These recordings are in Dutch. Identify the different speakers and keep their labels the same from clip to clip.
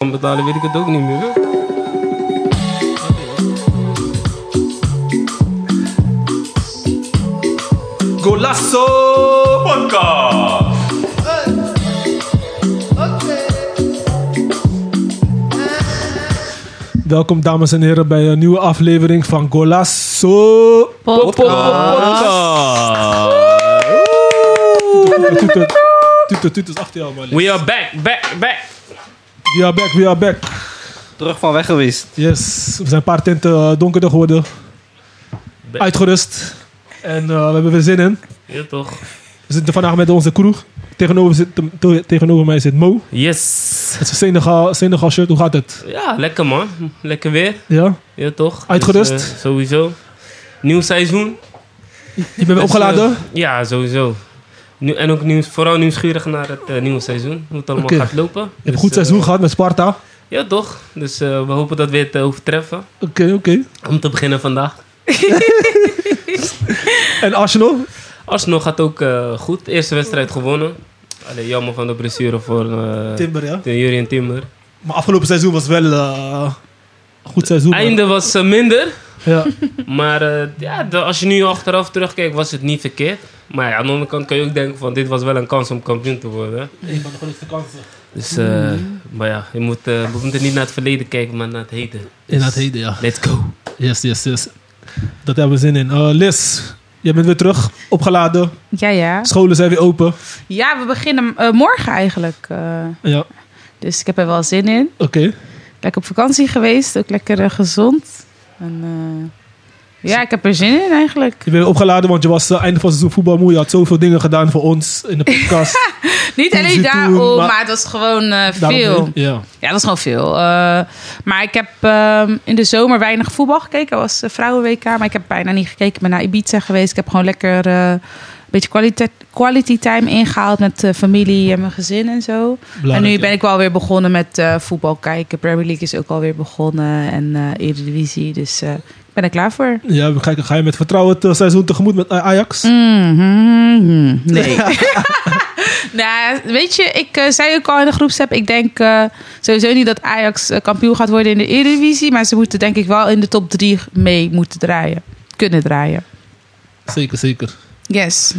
Speaker 1: kan betalen, weet ik het ook niet meer.
Speaker 2: Golasso Podcast.
Speaker 3: Welkom dames en heren bij een nieuwe aflevering van Golasso. Toeter, toeter, toeter is achter jou man.
Speaker 1: We are back, back, back.
Speaker 3: We are back, we are back.
Speaker 2: Terug van weg geweest.
Speaker 3: Yes, we zijn een paar tinten eh, donkerder geworden. Uitgerust. En eh, we hebben weer zin in.
Speaker 1: Ja, toch?
Speaker 3: We zitten vandaag met onze crew. Tegenover, zit, te- tegenover mij zit Mo.
Speaker 1: Yes.
Speaker 3: Het is een Senegal, Senegal shirt, hoe gaat het?
Speaker 1: Ja, lekker man. Lekker weer.
Speaker 3: Ja?
Speaker 1: Ja, toch?
Speaker 3: Uitgerust?
Speaker 1: eh, sowieso. Nieuw seizoen.
Speaker 3: Je bent weer
Speaker 1: Dus, eh,
Speaker 3: opgeladen?
Speaker 1: ja, sowieso. Nu, en ook nieuws, vooral nieuwsgierig naar het eh, nieuwe seizoen. Hoe het allemaal
Speaker 3: Oké.
Speaker 1: gaat lopen. Dus, eh,
Speaker 3: Je hebt een goed seizoen gehad met Sparta. Oké,
Speaker 1: Ja, toch? Dus eh, we hopen dat we het eh, overtreffen.
Speaker 3: oké.
Speaker 1: Om te beginnen vandaag.
Speaker 3: En Arsenal?
Speaker 1: Arsenal gaat ook eh, goed. Eerste wedstrijd gewonnen. Allee, jammer van de blessure voor eh,
Speaker 3: Timber, ja.
Speaker 1: Jurien Timber.
Speaker 3: Maar afgelopen seizoen was wel eh, een goed seizoen. man.
Speaker 1: Einde was eh, minder.
Speaker 3: Ja.
Speaker 1: Maar eh, ja, de- als je nu achteraf terugkijkt, was het niet verkeerd. Maar ja, aan de andere kant kan je ook denken van dit was wel een kans om kampioen te worden. hè.
Speaker 3: Een van de grootste kansen.
Speaker 1: Dus, eh,
Speaker 4: Mhm.
Speaker 1: maar ja, je moet, eh, we moeten niet naar het verleden kijken, maar naar het heden.
Speaker 3: In dat heden, ja.
Speaker 1: Let's go.
Speaker 3: Yes, yes, yes. Dat hebben we zin in. Eh Liz, jij bent weer terug. Opgeladen.
Speaker 4: Ja, ja.
Speaker 3: Scholen zijn weer open.
Speaker 4: Ja, we beginnen eh, morgen eigenlijk. eh.
Speaker 3: Ja, oké.
Speaker 4: dus ik heb er wel zin in. Lekker op vakantie geweest, ook lekker eh, gezond. En, eh, ja, ik heb er zin in eigenlijk.
Speaker 3: Je bent weer opgeladen, want je was eh, einde van het seizoen voetbalmoe. Je had zoveel dingen gedaan voor ons in de podcast.
Speaker 4: Niet alleen
Speaker 3: Toezien
Speaker 4: daarom,
Speaker 3: doen, maar-
Speaker 4: maar, het was gewoon eh, veel.
Speaker 3: Daarom- Ja.
Speaker 4: Ja, dat is gewoon veel. Eh, maar ik heb ehm, in de zomer weinig voetbal gekeken. Dat was eh, Vrouwen-WK, maar ik heb bijna niet gekeken. Ik ben naar Ibiza geweest. Ik heb gewoon lekker eh, een beetje quality, quality time ingehaald met eh, familie en mijn gezin en zo. En nu
Speaker 3: Belangrijk,
Speaker 4: ben
Speaker 3: ja.
Speaker 4: ik wel weer begonnen met eh, voetbal kijken. Premier League is ook alweer begonnen en eh Eredivisie. Dus eh, ik ben er klaar voor.
Speaker 3: Ja, we kijken, ga je met vertrouwen het eh, seizoen tegemoet met eh, Ajax?
Speaker 4: Mhm. Nee. nou, weet je, ik eh, zei ook al in de groepsapp... ik denk eh, sowieso niet dat Ajax eh, kampioen gaat worden in de Eredivisie... maar ze moeten denk ik wel in de top drie mee moeten draaien. Kunnen draaien.
Speaker 3: Zeker, zeker.
Speaker 4: Yes.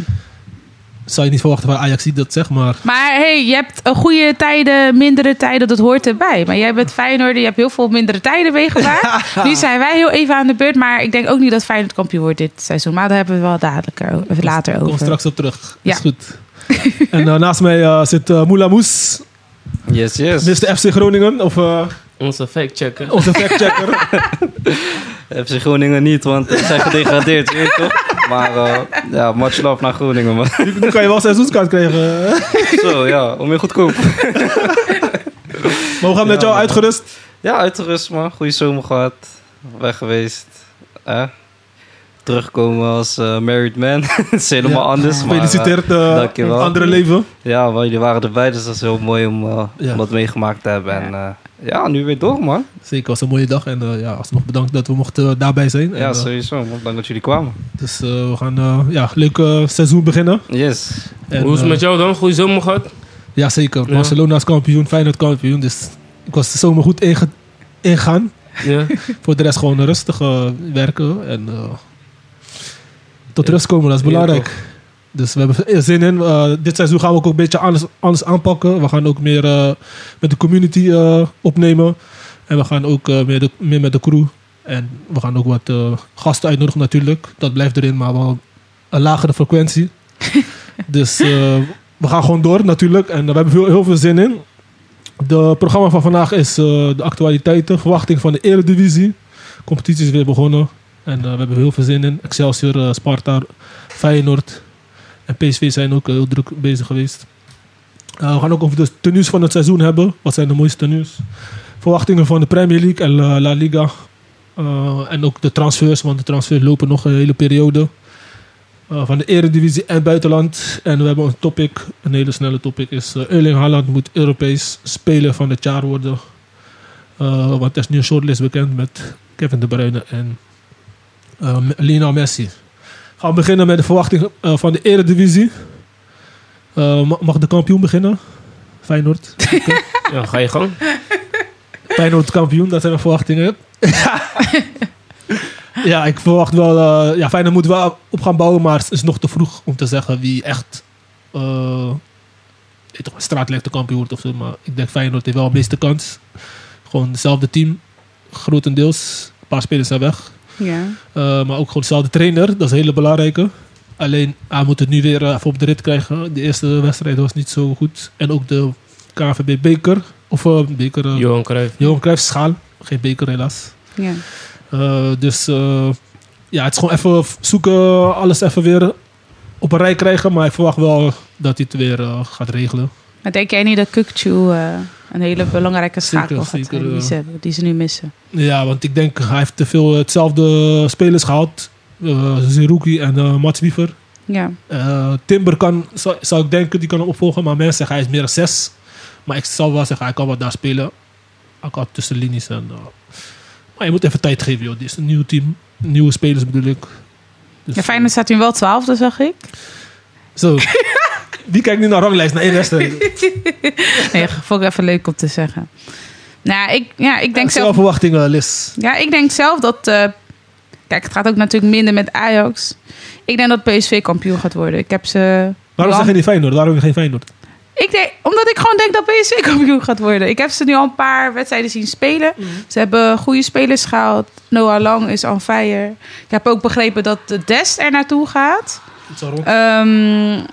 Speaker 3: Zou je niet verwachten van Ajax die dat zeg maar.
Speaker 4: Maar hey, je hebt eh, goede tijden, mindere tijden, dat hoort erbij. Maar jij bent Feyenoord, je hebt heel veel mindere tijden meegemaakt. nu zijn wij heel even aan de beurt, maar ik denk ook niet dat Feyenoord kampioen wordt dit seizoen. Maar daar hebben we wel dadelijk o- later
Speaker 3: Kom
Speaker 4: over.
Speaker 3: straks op terug.
Speaker 4: Ja.
Speaker 3: Is goed. en eh, naast mij eh, zit eh Moula Moes.
Speaker 2: Yes, yes.
Speaker 3: Dit is de FC Groningen. Of eh,
Speaker 1: Onze fact-checker.
Speaker 4: Oh.
Speaker 3: onze factchecker.
Speaker 2: FC Groningen niet, want ze zijn gedegradeerd, je weet toch? Maar eh, ja, much love naar Groningen, man.
Speaker 3: Nu nu kan je wel seizoenskaart krijgen.
Speaker 2: Zo, ja, om je goedkoop.
Speaker 3: Maar we gaan met jou uitgerust.
Speaker 2: Ja, uitgerust, man. Goeie zomer gehad. Weg geweest. Eh? Terugkomen als eh, married man. Het is helemaal
Speaker 3: Ja.
Speaker 2: anders, maar... eh,
Speaker 3: Gefeliciteerd eh,
Speaker 2: dankjewel.
Speaker 3: andere leven.
Speaker 2: ja, want jullie waren erbij, dus dat is heel mooi om, eh,
Speaker 3: Ja.
Speaker 2: om dat meegemaakt te hebben. En eh, ja, nu weer door, man.
Speaker 3: Zeker, was een mooie dag. En eh, ja, alsnog bedankt dat we mochten eh, daarbij zijn. En,
Speaker 2: Ja,
Speaker 3: eh,
Speaker 2: sowieso. man. Dank dat jullie kwamen.
Speaker 3: dus eh, we gaan eh, ja, leuk eh, seizoen beginnen.
Speaker 2: Yes.
Speaker 3: En,
Speaker 1: Hoe is het
Speaker 3: eh,
Speaker 1: met jou dan? Goeie zomer gehad?
Speaker 3: Ja, zeker.
Speaker 1: Ja.
Speaker 3: Barcelona is kampioen, Feyenoord kampioen. Dus ik was de zomer goed inge- ingaan.
Speaker 1: Ja.
Speaker 3: Voor de rest gewoon rustig eh, werken. En eh, tot rust komen, dat is belangrijk. Dus we hebben er zin in. Eh, dit seizoen gaan we ook een beetje anders, anders aanpakken. We gaan ook meer eh, met de community eh, opnemen. En we gaan ook eh, meer, de- meer met de crew. En we gaan ook wat eh, gasten uitnodigen natuurlijk. Dat blijft erin, maar wel een lagere frequentie. dus eh, we gaan gewoon door natuurlijk. En we hebben veel, heel veel zin in. De programma van vandaag is eh, de actualiteiten. Verwachting van de Eredivisie. Competitie is weer begonnen. En eh, we hebben heel veel zin in. Excelsior, eh, Sparta, Feyenoord en PSV zijn ook eh, heel druk bezig geweest. Eh, we gaan ook over de tenues van het seizoen hebben. Wat zijn de mooiste tenues? Verwachtingen van de Premier League en eh, La Liga. Eh, en ook de transfers, want de transfers lopen nog een hele periode. Eh, van de Eredivisie en buitenland. En we hebben een topic, een hele snelle topic, is eh, Erling Haaland moet Europees speler van het jaar worden. Eh, want er is nu een shortlist bekend met Kevin De Bruyne en eh, M- Lionel Messi. Gaan we beginnen met de verwachting eh, van de Eredivisie. Eh, ma- mag de kampioen beginnen? Feyenoord.
Speaker 1: ja, ga je gang.
Speaker 3: Feyenoord kampioen, dat zijn mijn verwachtingen. ja, ik verwacht wel... eh, ja, Feyenoord moet wel op gaan bouwen, maar het is nog te vroeg om te zeggen wie echt... eh weet toch, straatlijkt de kampioen wordt of zo. Maar ik denk Feyenoord heeft wel de meeste kans. Gewoon hetzelfde team, grotendeels. Een paar spelers zijn weg.
Speaker 4: Ja.
Speaker 3: Eh, maar ook gewoon dezelfde trainer, dat is een hele belangrijke. Alleen hij moet het nu weer eh, even op de rit krijgen. De eerste wedstrijd was niet zo goed. En ook de KNVB Beker, of eh, Beker, eh,
Speaker 1: Johan Cruijff.
Speaker 3: Johan Cruijff Schaal. Geen beker helaas.
Speaker 4: ja.
Speaker 3: Eh, dus eh, ja, het is gewoon even f- zoeken, alles even weer op een rij krijgen. Maar ik verwacht wel dat hij het weer eh, gaat regelen.
Speaker 4: Maar denk jij niet dat Kukchu eh een hele belangrijke
Speaker 3: Zeker,
Speaker 4: schakel gaat
Speaker 3: zeker,
Speaker 4: zijn die
Speaker 3: eh.
Speaker 4: ze, hebben, die ze nu missen?
Speaker 3: Ja, want ik denk hij heeft te veel hetzelfde spelers gehaald. eh Zerouki en eh Mats Wiever.
Speaker 4: Ja,
Speaker 3: Eh, Timber kan, zou, zou ik denken, die kan hem opvolgen. Maar mensen zeggen hij is meer een 6. Maar ik zou wel zeggen, hij kan wat daar spelen. Hij kan tussen linies. En, eh, maar je moet even tijd geven, joh. Dit is een nieuw team. Nieuwe spelers bedoel ik. Dus,
Speaker 4: ja Feyenoord staat nu wel 12, dat zag ik.
Speaker 3: Zo. Wie kijkt nu naar ranglijst? Naar één wedstrijd.
Speaker 4: Nee, vond ik even leuk om te zeggen. Nou, ik, ja, ik denk zelf
Speaker 3: Zelf verwachtingen, Liz.
Speaker 4: Ja, ik denk zelf dat. eh, kijk, het gaat ook natuurlijk minder met Ajax. Ik denk dat PSV kampioen gaat worden. Ik heb ze.
Speaker 3: Waarom
Speaker 4: Ja.
Speaker 3: zeg je niet Feyenoord? Waarom geen Feyenoord?
Speaker 4: Ik denk, omdat ik gewoon denk dat PSV kampioen gaat worden. Ik heb ze nu al een paar wedstrijden zien spelen. Ze hebben goede spelers gehaald. Noah Lang is on fire. Ik heb ook begrepen dat de Dest er naartoe gaat.
Speaker 3: Het zal rond.
Speaker 4: Ehm,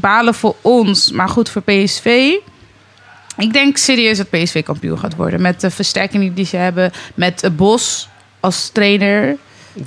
Speaker 4: balen voor ons, maar goed voor PSV. Ik denk serieus dat PSV kampioen gaat worden. Met de versterkingen die ze hebben. Met eh, Bos als trainer.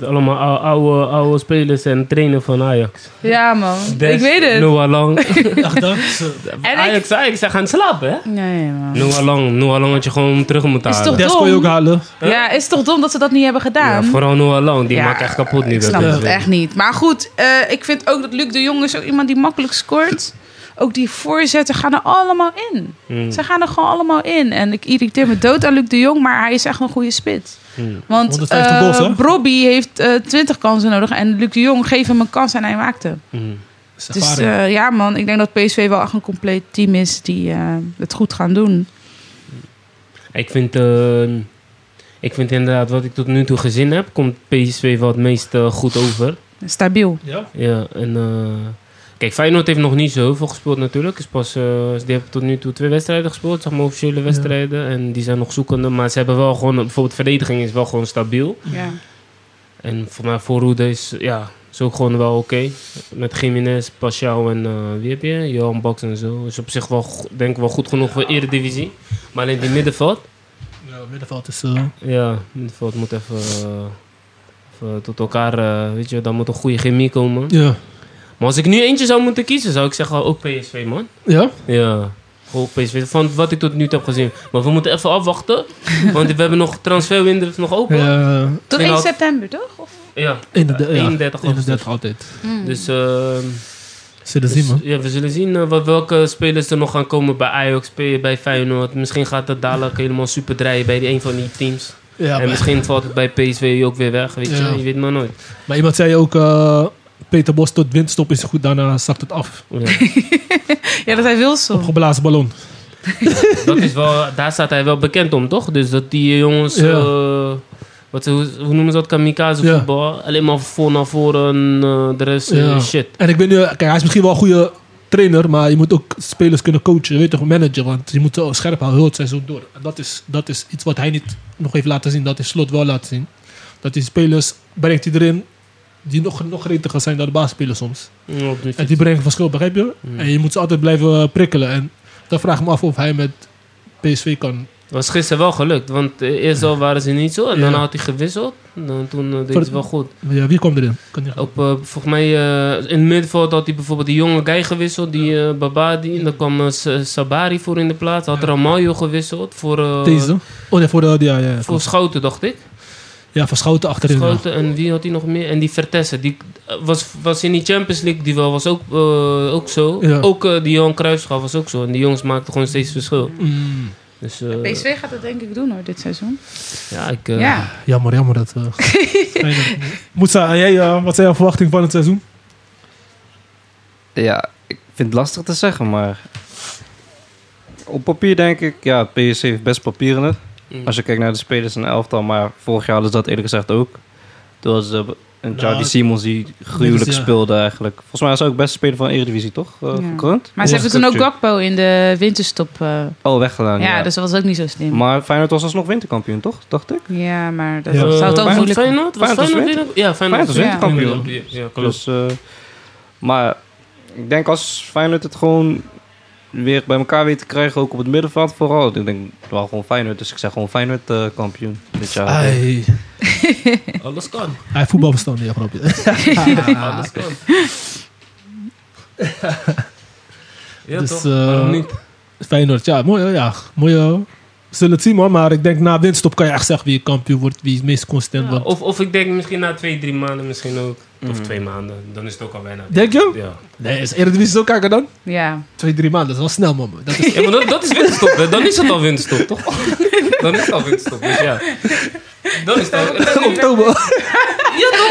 Speaker 1: Allemaal ou- oude, oude spelers en trainer van Ajax.
Speaker 4: Ja, man. ik weet het.
Speaker 1: Noah Lang.
Speaker 3: Echt, hè? Zo.
Speaker 4: ik-
Speaker 1: Ajax, Ajax, zij gaan slapen, hè?
Speaker 4: Nee, man.
Speaker 1: Noah Lang. Noah Lang had je gewoon terug moeten
Speaker 4: Is
Speaker 1: halen.
Speaker 4: toch-
Speaker 3: Des kon je ook halen.
Speaker 4: Ja, is toch dom dat ze dat niet hebben gedaan?
Speaker 1: Ja, vooral Noah Lang. Die
Speaker 4: Ja,
Speaker 1: maakt echt kapot nu.
Speaker 4: ik
Speaker 1: bij
Speaker 4: snap het
Speaker 1: PSV.
Speaker 4: echt niet. Maar goed, eh, ik vind ook dat Luc de Jong is ook iemand die makkelijk scoort. Ook die voorzetten gaan er allemaal in.
Speaker 1: Hmm.
Speaker 4: Ze gaan er gewoon allemaal in. En ik irriteer me dood aan Luc de Jong, maar hij is echt een goede spits.
Speaker 1: Hmm.
Speaker 4: Want
Speaker 3: 150 goals, hè?
Speaker 4: eh Robbie heeft eh 20 kansen nodig. En Luc de Jong geeft hem een kans en hij maakt hem.
Speaker 1: Mm.
Speaker 3: Dat is
Speaker 4: Dus
Speaker 3: ervaring.
Speaker 4: eh, ja, man, ik denk dat PSV wel echt een compleet team is die eh, het goed gaan doen.
Speaker 1: Ik vind, eh, ik vind inderdaad, wat ik tot nu toe gezien heb, komt PSV wel het meest eh, goed over.
Speaker 4: Stabiel.
Speaker 3: ja?
Speaker 1: Ja, en eh, kijk, Feyenoord heeft nog niet zoveel gespeeld natuurlijk. Is pas, eh, die hebben tot nu toe twee wedstrijden gespeeld, zeg maar officiële wedstrijden. En die zijn nog zoekende, maar ze hebben wel gewoon, bijvoorbeeld verdediging is wel gewoon stabiel.
Speaker 4: Ja.
Speaker 1: En voor mij voorhoede is, ja, is ook gewoon wel oké. Met Jiménez, Paschal en eh, wie heb je? Johan Baks en zo. Is op zich wel, go- denk ik wel goed genoeg voor Eredivisie. Maar alleen die middenveld,
Speaker 3: Ja, middenveld is... eh,
Speaker 1: ja, middenveld moet even, eh, even tot elkaar, eh, weet je, dan moet een goede chemie komen.
Speaker 3: ja.
Speaker 1: Maar als ik nu eentje zou moeten kiezen, zou ik zeggen ook PSV, man.
Speaker 3: Ja?
Speaker 1: Ja, ook PSV. Van wat ik tot nu toe heb gezien. Maar we moeten even afwachten, want we hebben nog transferwindow is nog open. Ja,
Speaker 3: Ja.
Speaker 4: Tot
Speaker 1: Ging
Speaker 4: 1
Speaker 1: al-
Speaker 4: september, toch? Of?
Speaker 3: Inderdaad, Eh, ja.
Speaker 1: 31 augustus.
Speaker 3: 31 altijd.
Speaker 1: Dus, eh,
Speaker 3: Zullen
Speaker 1: dus
Speaker 3: zien, man.
Speaker 1: ja, we zullen zien eh, wat, welke spelers er nog gaan komen bij Ajax, bij bij Feyenoord. Misschien gaat het dadelijk helemaal super draaien bij die een van die teams.
Speaker 3: Ja,
Speaker 1: en
Speaker 3: maar,
Speaker 1: misschien valt het bij PSV ook weer weg, weet je.
Speaker 3: Ja.
Speaker 1: Je weet maar nooit.
Speaker 3: maar iemand zei ook, eh, Peter Bos tot windstop is goed, daarna zakt het af.
Speaker 1: Ja.
Speaker 4: Ja, dat hij Wilson.
Speaker 3: Opgeblazen ballon.
Speaker 1: Dat is wel, daar staat hij wel bekend om, toch? Dus dat die jongens,
Speaker 3: Ja.
Speaker 1: eh, wat, ze- hoe, hoe noemen ze dat, kamikaze
Speaker 3: Ja.
Speaker 1: voetbal? Alleen maar voor naar voren en eh, de rest eh,
Speaker 3: Ja.
Speaker 1: shit.
Speaker 3: En ik ben nu, kijk, hij is misschien wel een goede trainer, maar je moet ook spelers kunnen coachen, je weet toch, managen, want je moet zo scherp houden, heel het seizoen door. En dat is, dat is iets wat hij niet nog heeft laten zien, dat is slot wel laten zien. Dat die spelers brengt hij erin die nog, nog gretiger zijn dan de baasspelers soms.
Speaker 1: Ja, op de
Speaker 3: En
Speaker 1: fiets.
Speaker 3: die brengen verschil, begrijp je? En je moet ze altijd blijven prikkelen. En dan vraag ik me af of hij met PSV kan.
Speaker 1: was gisteren wel gelukt, want eh, eerst al waren ze niet zo. En dan
Speaker 3: Ja.
Speaker 1: had hij gewisseld. En dan, toen eh, deed
Speaker 3: Voor-
Speaker 1: hij het wel goed.
Speaker 3: Ja, wie kwam erin? Kan niet-
Speaker 1: Op, eh, volgens mij eh, in het middenveld had hij bijvoorbeeld die jonge guy gewisseld. Die eh, Babadi. En dan kwam eh, Sa- Sabari voor in de plaats. Had Ramaljo gewisseld voor, eh,
Speaker 3: Deze? Oh nee, voor de... Ja, ja, ja.
Speaker 1: voor Schouten, dacht ik.
Speaker 3: ja voor Schouten achterin. ja.
Speaker 1: Schoten en wie had hij nog meer? En die Vertessen, die eh, was, was in die Champions League, die wel was ook, eh, ook zo.
Speaker 3: Ja.
Speaker 1: Ook eh, die Johan Cruijffschaal was ook zo. En die jongens maakten gewoon steeds verschil.
Speaker 3: Mm,
Speaker 1: Dus eh,
Speaker 4: PSV gaat dat denk ik doen hoor, dit seizoen.
Speaker 1: ja, ik, eh,
Speaker 4: ja.
Speaker 3: jammer, jammer dat... eh, Feyenoord- Moussa, en jij, eh, wat zijn jouw verwachtingen van het seizoen?
Speaker 2: Ja, ik vind het lastig te zeggen, maar... Op papier denk ik, ja, PSV heeft best papier in het.
Speaker 3: Hm.
Speaker 1: Mm.
Speaker 2: Als je kijkt naar de spelers in de elftal, maar vorig jaar hadden ze dat eerlijk gezegd ook. Toen was de, een
Speaker 3: Nou,
Speaker 2: Jordi Simons die gruwelijk
Speaker 3: dit is, ja.
Speaker 2: speelde eigenlijk. Volgens mij was hij ook beste speler van de Eredivisie, toch? Eh,
Speaker 4: Ja.
Speaker 2: Gekroond?
Speaker 4: Maar ze
Speaker 2: Ja.
Speaker 4: hebben toen ook Gakpo in de winterstop. eh,
Speaker 2: Oh, weggedaan, ja.
Speaker 4: ja, dus dat was ook niet zo slim.
Speaker 2: Maar Feyenoord was alsnog winterkampioen, toch? Dacht ik.
Speaker 4: ja, maar dat
Speaker 3: Ja.
Speaker 4: zou het
Speaker 1: Eh,
Speaker 4: ook
Speaker 1: was
Speaker 4: moeilijk
Speaker 1: Feyenoord? Was
Speaker 2: Feyenoord was
Speaker 1: Feyenoord weer- Ja, Feyenoord was
Speaker 2: Feyenoord
Speaker 4: was
Speaker 2: wereldkampioen.
Speaker 1: wereldkampioen. Ja, klopt.
Speaker 2: Dus, eh, maar ik denk als Feyenoord het gewoon weer bij elkaar weet te krijgen, ook op het middenveld vooral. Ik denk wel gewoon Feyenoord, dus ik zeg gewoon Feyenoord eh, kampioen dit jaar.
Speaker 3: Ai,
Speaker 1: Alles kan.
Speaker 3: Hij voetbalverstand niet, grapje.
Speaker 1: Alles kan. ja,
Speaker 3: Dus,
Speaker 1: toch?
Speaker 3: eh,
Speaker 1: Waarom niet?
Speaker 3: Feyenoord, ja, mooi. hè, Ja, mooi. hè. We zullen het zien, man. Maar ik denk na winststop kan je echt zeggen wie kampioen wordt, wie het meest constant
Speaker 1: Ja,
Speaker 3: wordt.
Speaker 1: of, of ik denk misschien na twee, drie maanden misschien ook. Of
Speaker 2: Mhm.
Speaker 1: twee maanden. Dan is het ook al bijna.
Speaker 3: Denk je?
Speaker 1: Ja.
Speaker 3: Nee, is Eredivisie zo kijken dan?
Speaker 4: doen. Ja.
Speaker 3: Twee, drie maanden, dat is wel snel, man. Dat is,
Speaker 1: Ja, maar dat, dat is winterstop. Hè. Dan is het al winterstop, toch? Dan is het al winterstop, dus ja. Dan is het al...
Speaker 3: oktober,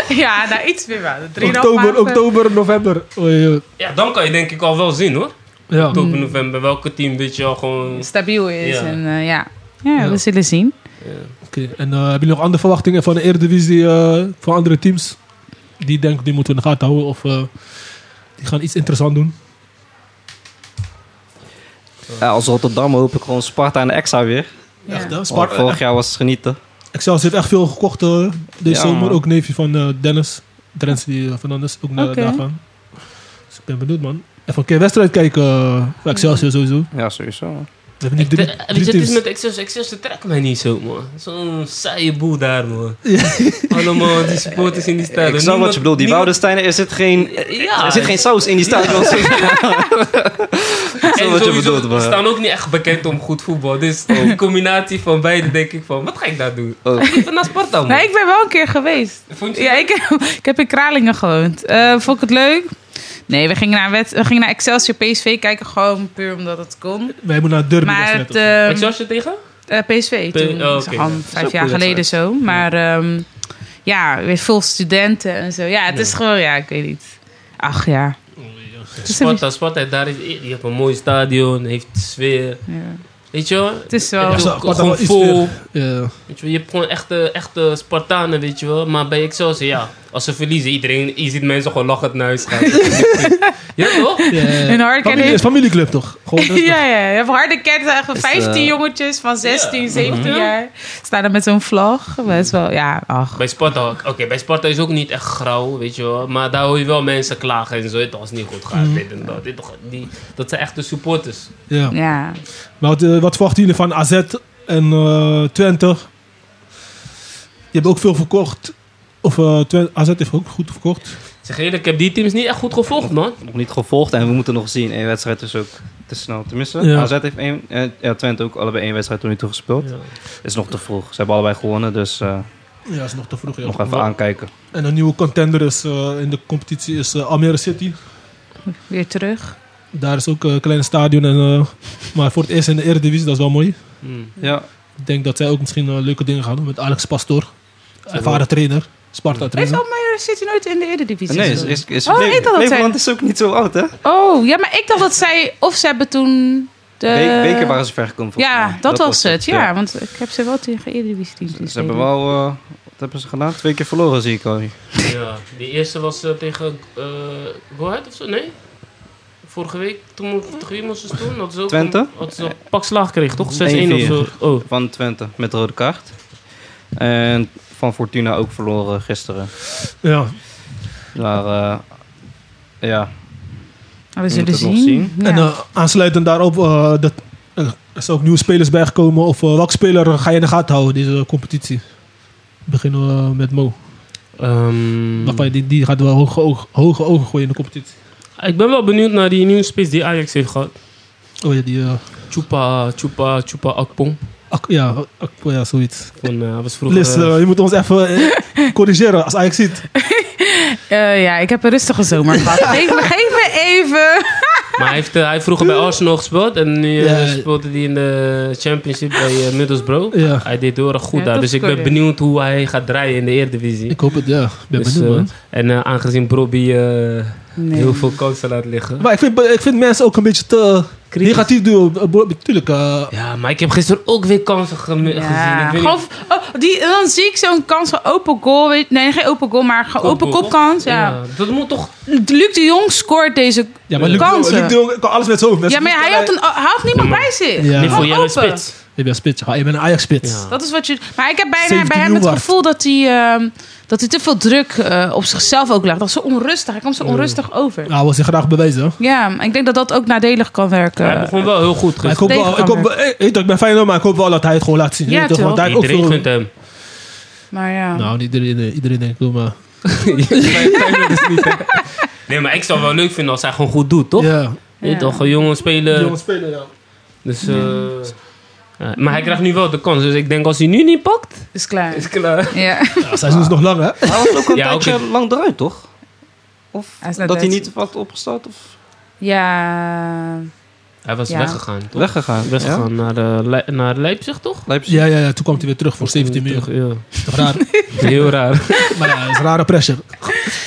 Speaker 4: ja, nou iets meer wel. Drieënhalf
Speaker 3: oktober,
Speaker 4: maanden.
Speaker 3: oktober, november. Oei, oei.
Speaker 1: Ja, dan kan je denk ik al wel zien, hoor.
Speaker 3: Ja.
Speaker 1: Oktober, november, welke team weet je al gewoon...
Speaker 4: Stabiel is.
Speaker 1: Ja.
Speaker 4: En eh, ja. Ja,
Speaker 3: Ja.
Speaker 4: we zullen zien.
Speaker 3: Oké, en eh, hebben jullie nog andere verwachtingen van de Eredivisie eh, van andere teams? Die denk die moeten we in de gaten houden of eh, die gaan iets interessants doen.
Speaker 2: Ja, als Rotterdam hoop ik gewoon Sparta en Exa weer.
Speaker 4: Ja.
Speaker 3: Echt, hè?
Speaker 2: Sparta.
Speaker 3: Sparta.
Speaker 2: vorig jaar was het genieten.
Speaker 3: Excelsior heeft echt veel gekocht eh, deze
Speaker 2: Ja,
Speaker 3: zomer.
Speaker 2: man.
Speaker 3: Ook neefje van eh, Dennis. Dennis die, eh, Fernandes, ook naar
Speaker 4: Oké.
Speaker 3: daar gaan. Dus ik ben benieuwd, man. Even een keer wedstrijd kijken eh, voor Excelsior sowieso. We
Speaker 2: Ja, sowieso.
Speaker 3: hebben nu drie,
Speaker 1: eh, Weet
Speaker 4: eh,
Speaker 1: je,
Speaker 3: drie
Speaker 4: dus
Speaker 1: het
Speaker 3: teams.
Speaker 1: is met Excelsior. Excelsior trekt mij niet zo, man. Zo'n saaie boel daar, man. Allemaal die supporters in die stad.
Speaker 2: ik snap wat je bedoelt. Die Woudensteinen, er zit geen,
Speaker 1: Ja.
Speaker 2: er zit geen saus in die stadion.
Speaker 1: En
Speaker 2: snap wat je
Speaker 1: sowieso,
Speaker 2: bedoelt, maar-
Speaker 1: Ze staan ook niet echt bekend om goed voetbal. Dus die combinatie van beide denk ik van... Wat ga ik daar doen?
Speaker 2: Oh.
Speaker 1: Ik Even naar Sparta, man.
Speaker 4: Nee, ik ben wel een keer geweest.
Speaker 1: Vond je
Speaker 4: Ja, ik, ik heb in Kralingen gewoond. Eh, vond ik het leuk? Nee, we gingen, naar wet, we gingen naar Excelsior PSV kijken. Gewoon puur omdat het kon.
Speaker 3: Wij moeten naar Derby
Speaker 4: Maar
Speaker 3: wedstrijd
Speaker 4: het,
Speaker 3: of zo.
Speaker 4: ehm,
Speaker 1: Excelsior tegen?
Speaker 4: eh, PSV
Speaker 1: P-
Speaker 4: toen.
Speaker 1: oh,
Speaker 4: Dat is
Speaker 1: oké,
Speaker 4: al
Speaker 1: ja.
Speaker 2: Dat
Speaker 4: vijf
Speaker 2: is ook
Speaker 4: jaar
Speaker 2: goed
Speaker 4: geleden zo. Maar ehm, ja, weer veel studenten en zo. Ja, het is gewoon... Ja, ik weet niet. Ach ja. Het is, een-
Speaker 1: Sparta, Sparta, daar is, je hebt een mooi stadion, heeft sfeer.
Speaker 4: ja.
Speaker 1: Weet je wel?
Speaker 4: Het is wel...
Speaker 1: Het is
Speaker 3: Ja,
Speaker 1: ook
Speaker 3: Sparta
Speaker 1: gewoon
Speaker 3: wel iets
Speaker 1: vol.
Speaker 4: eh,
Speaker 3: Ja.
Speaker 1: Weet je, wel, je hebt gewoon echte, echte Spartanen, weet je wel. Maar bij Excelsior, ja, als ze verliezen, iedereen, je ziet mensen gewoon lachend naar huis gaan. ja, toch?
Speaker 3: Ja.
Speaker 4: Een hard
Speaker 3: Familie,
Speaker 4: en-
Speaker 3: is familieclub toch? Gewoon rustig.
Speaker 4: Ja, ja, je hebt harde kernen echt van
Speaker 2: Is, eh,
Speaker 4: 15 jongetjes van 16,
Speaker 1: Ja.
Speaker 4: 17 jaar. Staan er met zo'n vlag. Best wel, ja, ach.
Speaker 1: Bij Sparta, oké, bij Sparta is ook niet echt grauw, weet je wel. Maar daar hoor je wel mensen klagen en zo, het was niet goed
Speaker 3: Mm.
Speaker 1: gaat, dit en dat. Dit, toch- die, dat zijn echt de supporters.
Speaker 3: Ja.
Speaker 4: Ja.
Speaker 3: Maar wat, eh, wat verwachten jullie van AZ en eh, Twente? Die hebben ook veel verkocht. Of eh, Twen- AZ heeft ook goed verkocht.
Speaker 1: Ik Zeg eerlijk, ik heb die teams niet echt goed gevolgd, man.
Speaker 2: nog niet gevolgd en we moeten nog zien. Eén wedstrijd is ook te snel te missen.
Speaker 3: Ja.
Speaker 2: AZ heeft één, eh, ja, Twente ook allebei één wedstrijd tot nu toe gespeeld.
Speaker 1: Ja.
Speaker 2: Is nog te vroeg. Ze hebben allebei gewonnen, dus eh,
Speaker 3: Ja, is nog te vroeg.
Speaker 2: nog even aankijken.
Speaker 3: En een nieuwe contender is, eh, in de competitie is eh, Almere City.
Speaker 4: Weer terug.
Speaker 3: Daar is ook eh, een klein stadion. En, eh, maar voor het eerst in de Eredivisie, dat is wel mooi.
Speaker 1: Hmm.
Speaker 2: Ja,
Speaker 3: Ik denk dat zij ook misschien eh, leuke dingen gaan doen met Alex Pastoor. Ervaren trainer. Sparta
Speaker 4: Heeft
Speaker 3: trainer.
Speaker 4: Almere City nooit in de Eredivisie?
Speaker 2: nee, is,
Speaker 4: gespeeld?
Speaker 2: is, is,
Speaker 4: Oh,
Speaker 2: Fle-
Speaker 4: ik dacht dat zij-
Speaker 2: Flevoland is ook niet zo oud, hè?
Speaker 4: Oh, ja, maar ik dacht dat zij... Of ze hebben toen... De...
Speaker 2: Be- Beker waren ze ver gekomen. volgens
Speaker 4: Ja,
Speaker 2: mij.
Speaker 4: dat, was het. Ja, Dus want ik heb ze wel tegen Eredivisie
Speaker 2: Ze,
Speaker 4: teams
Speaker 2: ze hebben wel, eh, wat hebben ze gedaan? Twee keer verloren, zie ik al. hier.
Speaker 1: Ja, die eerste was eh, tegen eh Go Ahead of zo? Nee? Vorige week, toen mo- tegen wie moesten ze toen? Dat ze ook
Speaker 2: Twente?
Speaker 1: Een, hadden ze een pak slaag kreeg, toch? 6-1 of
Speaker 2: 1-4.
Speaker 1: zo. Oh,
Speaker 2: Van Twente met de rode kaart. En van Fortuna ook verloren gisteren.
Speaker 3: Ja.
Speaker 2: Maar eh, ja,
Speaker 4: We zullen
Speaker 2: moeten het
Speaker 4: zien.
Speaker 2: nog zien.
Speaker 4: Ja.
Speaker 3: En eh, aansluitend daarop, eh, dat, eh, er zijn ook nieuwe spelers bijgekomen. Of eh, welke speler ga je in de gaten houden deze competitie? Beginnen we eh, met Mo.
Speaker 1: Hmm. ehm,
Speaker 3: Waarvan je- Die, die gaat wel hoge, oog- hoge ogen gooien in de competitie.
Speaker 1: ik ben wel benieuwd naar die nieuwe spits die Ajax heeft gehad.
Speaker 3: Oh ja, die... eh,
Speaker 1: Chupa, Chupa, Chupa Akpong.
Speaker 3: Ak- ja, Ak- oh ja, zoiets.
Speaker 1: Van, eh, hij was vroeger...
Speaker 3: Liz,
Speaker 1: eh,
Speaker 3: eh, je moet ons even eh, corrigeren als Ajax ziet.
Speaker 4: Eh, ja, ik heb een rustige zomer gehad. geef, me, geef me even.
Speaker 1: maar hij heeft, eh, hij heeft vroeger bij Arsenal gespeeld. En nu eh,
Speaker 3: Ja.
Speaker 1: speelde hij in de championship bij eh, Middlesbrough.
Speaker 3: Ja.
Speaker 1: Hij deed heel erg goed
Speaker 4: Ja,
Speaker 1: daar.
Speaker 4: dat
Speaker 1: Dus ik ben
Speaker 4: scoorde.
Speaker 1: benieuwd hoe hij gaat draaien in de Eredivisie.
Speaker 3: Ik hoop het, ja. Ik ben
Speaker 1: Dus,
Speaker 3: benieuwd,
Speaker 1: eh,
Speaker 3: man.
Speaker 1: en eh, aangezien Bobby eh,
Speaker 4: Nee.
Speaker 1: heel veel kansen laat liggen.
Speaker 3: Maar ik vind, ik vind mensen ook een beetje te negatief doen. Eh, bo- Tuurlijk, eh,
Speaker 1: Ja, maar ik heb gisteren ook weer kansen geme- gezien.
Speaker 4: Ja,
Speaker 1: Ik weet
Speaker 4: gewoon,
Speaker 1: niet-
Speaker 4: oh, die, dan zie ik zo'n kans van open goal. weet- Nee, geen open goal, maar gewoon open kopkans. Ja.
Speaker 1: Dat moet toch...
Speaker 4: Luc de Jong scoort deze
Speaker 3: ja,
Speaker 1: Eh,
Speaker 3: maar Luc, de Jong-
Speaker 4: kansen.
Speaker 3: Luc de Jong kan alles met zijn hoofd. Mensen
Speaker 4: ja, maar hij
Speaker 3: moeten-
Speaker 4: had, een, oh, hij had niemand
Speaker 1: Ja, maar-
Speaker 4: bij zich.
Speaker 3: Ja.
Speaker 1: Niet voor
Speaker 4: Gewoon
Speaker 1: jou een
Speaker 4: open.
Speaker 1: spits.
Speaker 3: Ik ben een spits. Ja, ik ben een Ajax-spits.
Speaker 1: Ja.
Speaker 4: Dat is wat je. Maar ik heb bijna
Speaker 3: 17
Speaker 4: bij hem het
Speaker 3: Nieuwmarkt.
Speaker 4: gevoel dat hij, ehm, dat hij te veel druk eh, op zichzelf ook legt. Dat is zo onrustig. Hij komt zo onrustig over.
Speaker 3: Nou, hij wil zich graag bewijzen. hoor.
Speaker 4: Ja, en ik denk dat dat ook nadelig kan werken.
Speaker 1: Hij begon wel heel goed
Speaker 3: Maar ik,
Speaker 1: gisteren.
Speaker 3: hoop wel, ik, hoop,
Speaker 4: Tegenhanger.
Speaker 3: eh, weet je, ik ben fijn, maar ik hoop wel dat hij het gewoon laat zien.
Speaker 4: Ja,
Speaker 3: Weet je toch, want
Speaker 4: toch?
Speaker 3: hij heeft ook
Speaker 1: Iedereen
Speaker 3: veel...
Speaker 1: gunt hem.
Speaker 4: Maar ja.
Speaker 3: Nou, niet iedereen, eh, iedereen denk ik wel, maar...
Speaker 1: Nee, maar ik zou wel leuk vinden als hij gewoon goed doet, toch? Eh,
Speaker 3: Ja.
Speaker 1: Je weet
Speaker 4: Ja.
Speaker 1: toch, een jongen spelen.
Speaker 3: Jongens spelen, ja.
Speaker 1: Dus, eh, ja, Maar hij krijgt nu wel de kans. Dus ik denk als hij nu niet pakt,
Speaker 4: Is klaar.
Speaker 1: is klaar.
Speaker 4: Ja.
Speaker 3: Ja, het seizoen is nog lang, hè?
Speaker 2: Hij was ook een
Speaker 1: Ja,
Speaker 2: tijdje
Speaker 1: oké.
Speaker 2: lang eruit, toch? Of
Speaker 4: Hij is net
Speaker 2: dat hij
Speaker 4: uit.
Speaker 2: niet wat opgestart of
Speaker 4: Ja.
Speaker 1: Hij was
Speaker 4: Ja.
Speaker 1: weggegaan, toch?
Speaker 2: weggegaan. Ja?
Speaker 1: Weggegaan naar, eh, Le- naar Leipzig, toch?
Speaker 2: Leipzig.
Speaker 3: Ja, ja, ja. Toen kwam hij weer terug voor 17 miljoen.
Speaker 1: Terug, ja.
Speaker 3: Toch Raar.
Speaker 1: Heel raar.
Speaker 3: Maar ja, dat is rare pressure.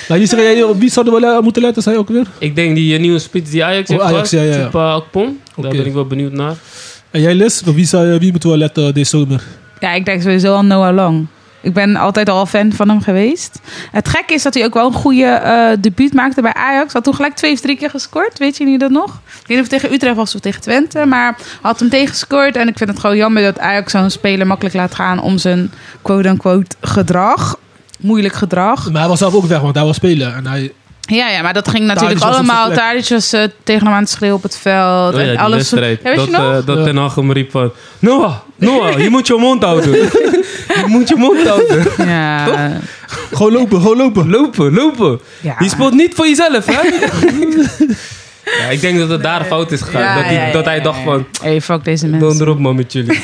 Speaker 3: Maar jullie zeggen, jij, op wie zouden we le- moeten letten, zei je ook weer?
Speaker 1: ik denk die eh, nieuwe spits die Ajax
Speaker 3: Oh,
Speaker 1: heeft
Speaker 3: Ajax,
Speaker 1: gehad,
Speaker 3: ja, ja, ja.
Speaker 1: Chupa Akpom. Daar
Speaker 3: Oké.
Speaker 1: ben ik wel benieuwd naar.
Speaker 3: En jij, Liz? Op wie, zou, je- wie moeten we letten deze zomer?
Speaker 4: Ja, ik denk sowieso aan Noah Lang. Ik ben altijd al fan van hem geweest. Het gekke is dat hij ook wel een goede eh, debuut maakte bij Ajax. Had toen gelijk twee of drie keer gescoord. Weet jullie dat nog? Ik weet niet of het tegen Utrecht was of tegen Twente. Maar had hem tegenscoord. En ik vind het gewoon jammer dat Ajax zo'n speler makkelijk laat gaan om zijn quote-unquote gedrag. Moeilijk gedrag.
Speaker 3: Maar hij was zelf ook weg, want hij wil spelen. En hij,
Speaker 4: Ja, ja, maar dat ging natuurlijk
Speaker 3: Tadic was op zijn
Speaker 4: allemaal.
Speaker 3: plek.
Speaker 4: Tadic was eh, tegen hem aan het schreeuwen op het veld.
Speaker 1: Oh ja,
Speaker 4: en
Speaker 1: die
Speaker 4: alles.
Speaker 1: wedstrijd.
Speaker 4: Ja, weet
Speaker 1: dat
Speaker 4: je nog?
Speaker 1: eh, dat
Speaker 3: Ja.
Speaker 1: Ten Hag hem riep van... Noah, Noah, je moet je mond houden. je moet je mond houden.
Speaker 4: ja.
Speaker 3: gewoon lopen, gewoon lopen.
Speaker 1: Lopen, lopen.
Speaker 4: ja.
Speaker 1: Je speelt niet voor jezelf, hè? ja, ik denk dat het daar fout is gegaan.
Speaker 4: Ja,
Speaker 1: dat, hij,
Speaker 4: ja, ja,
Speaker 1: dat hij
Speaker 4: ja,
Speaker 1: dacht
Speaker 4: ja.
Speaker 1: van...
Speaker 4: Hey, fuck deze mensen.
Speaker 1: Dan erop, man, met jullie.
Speaker 4: Ik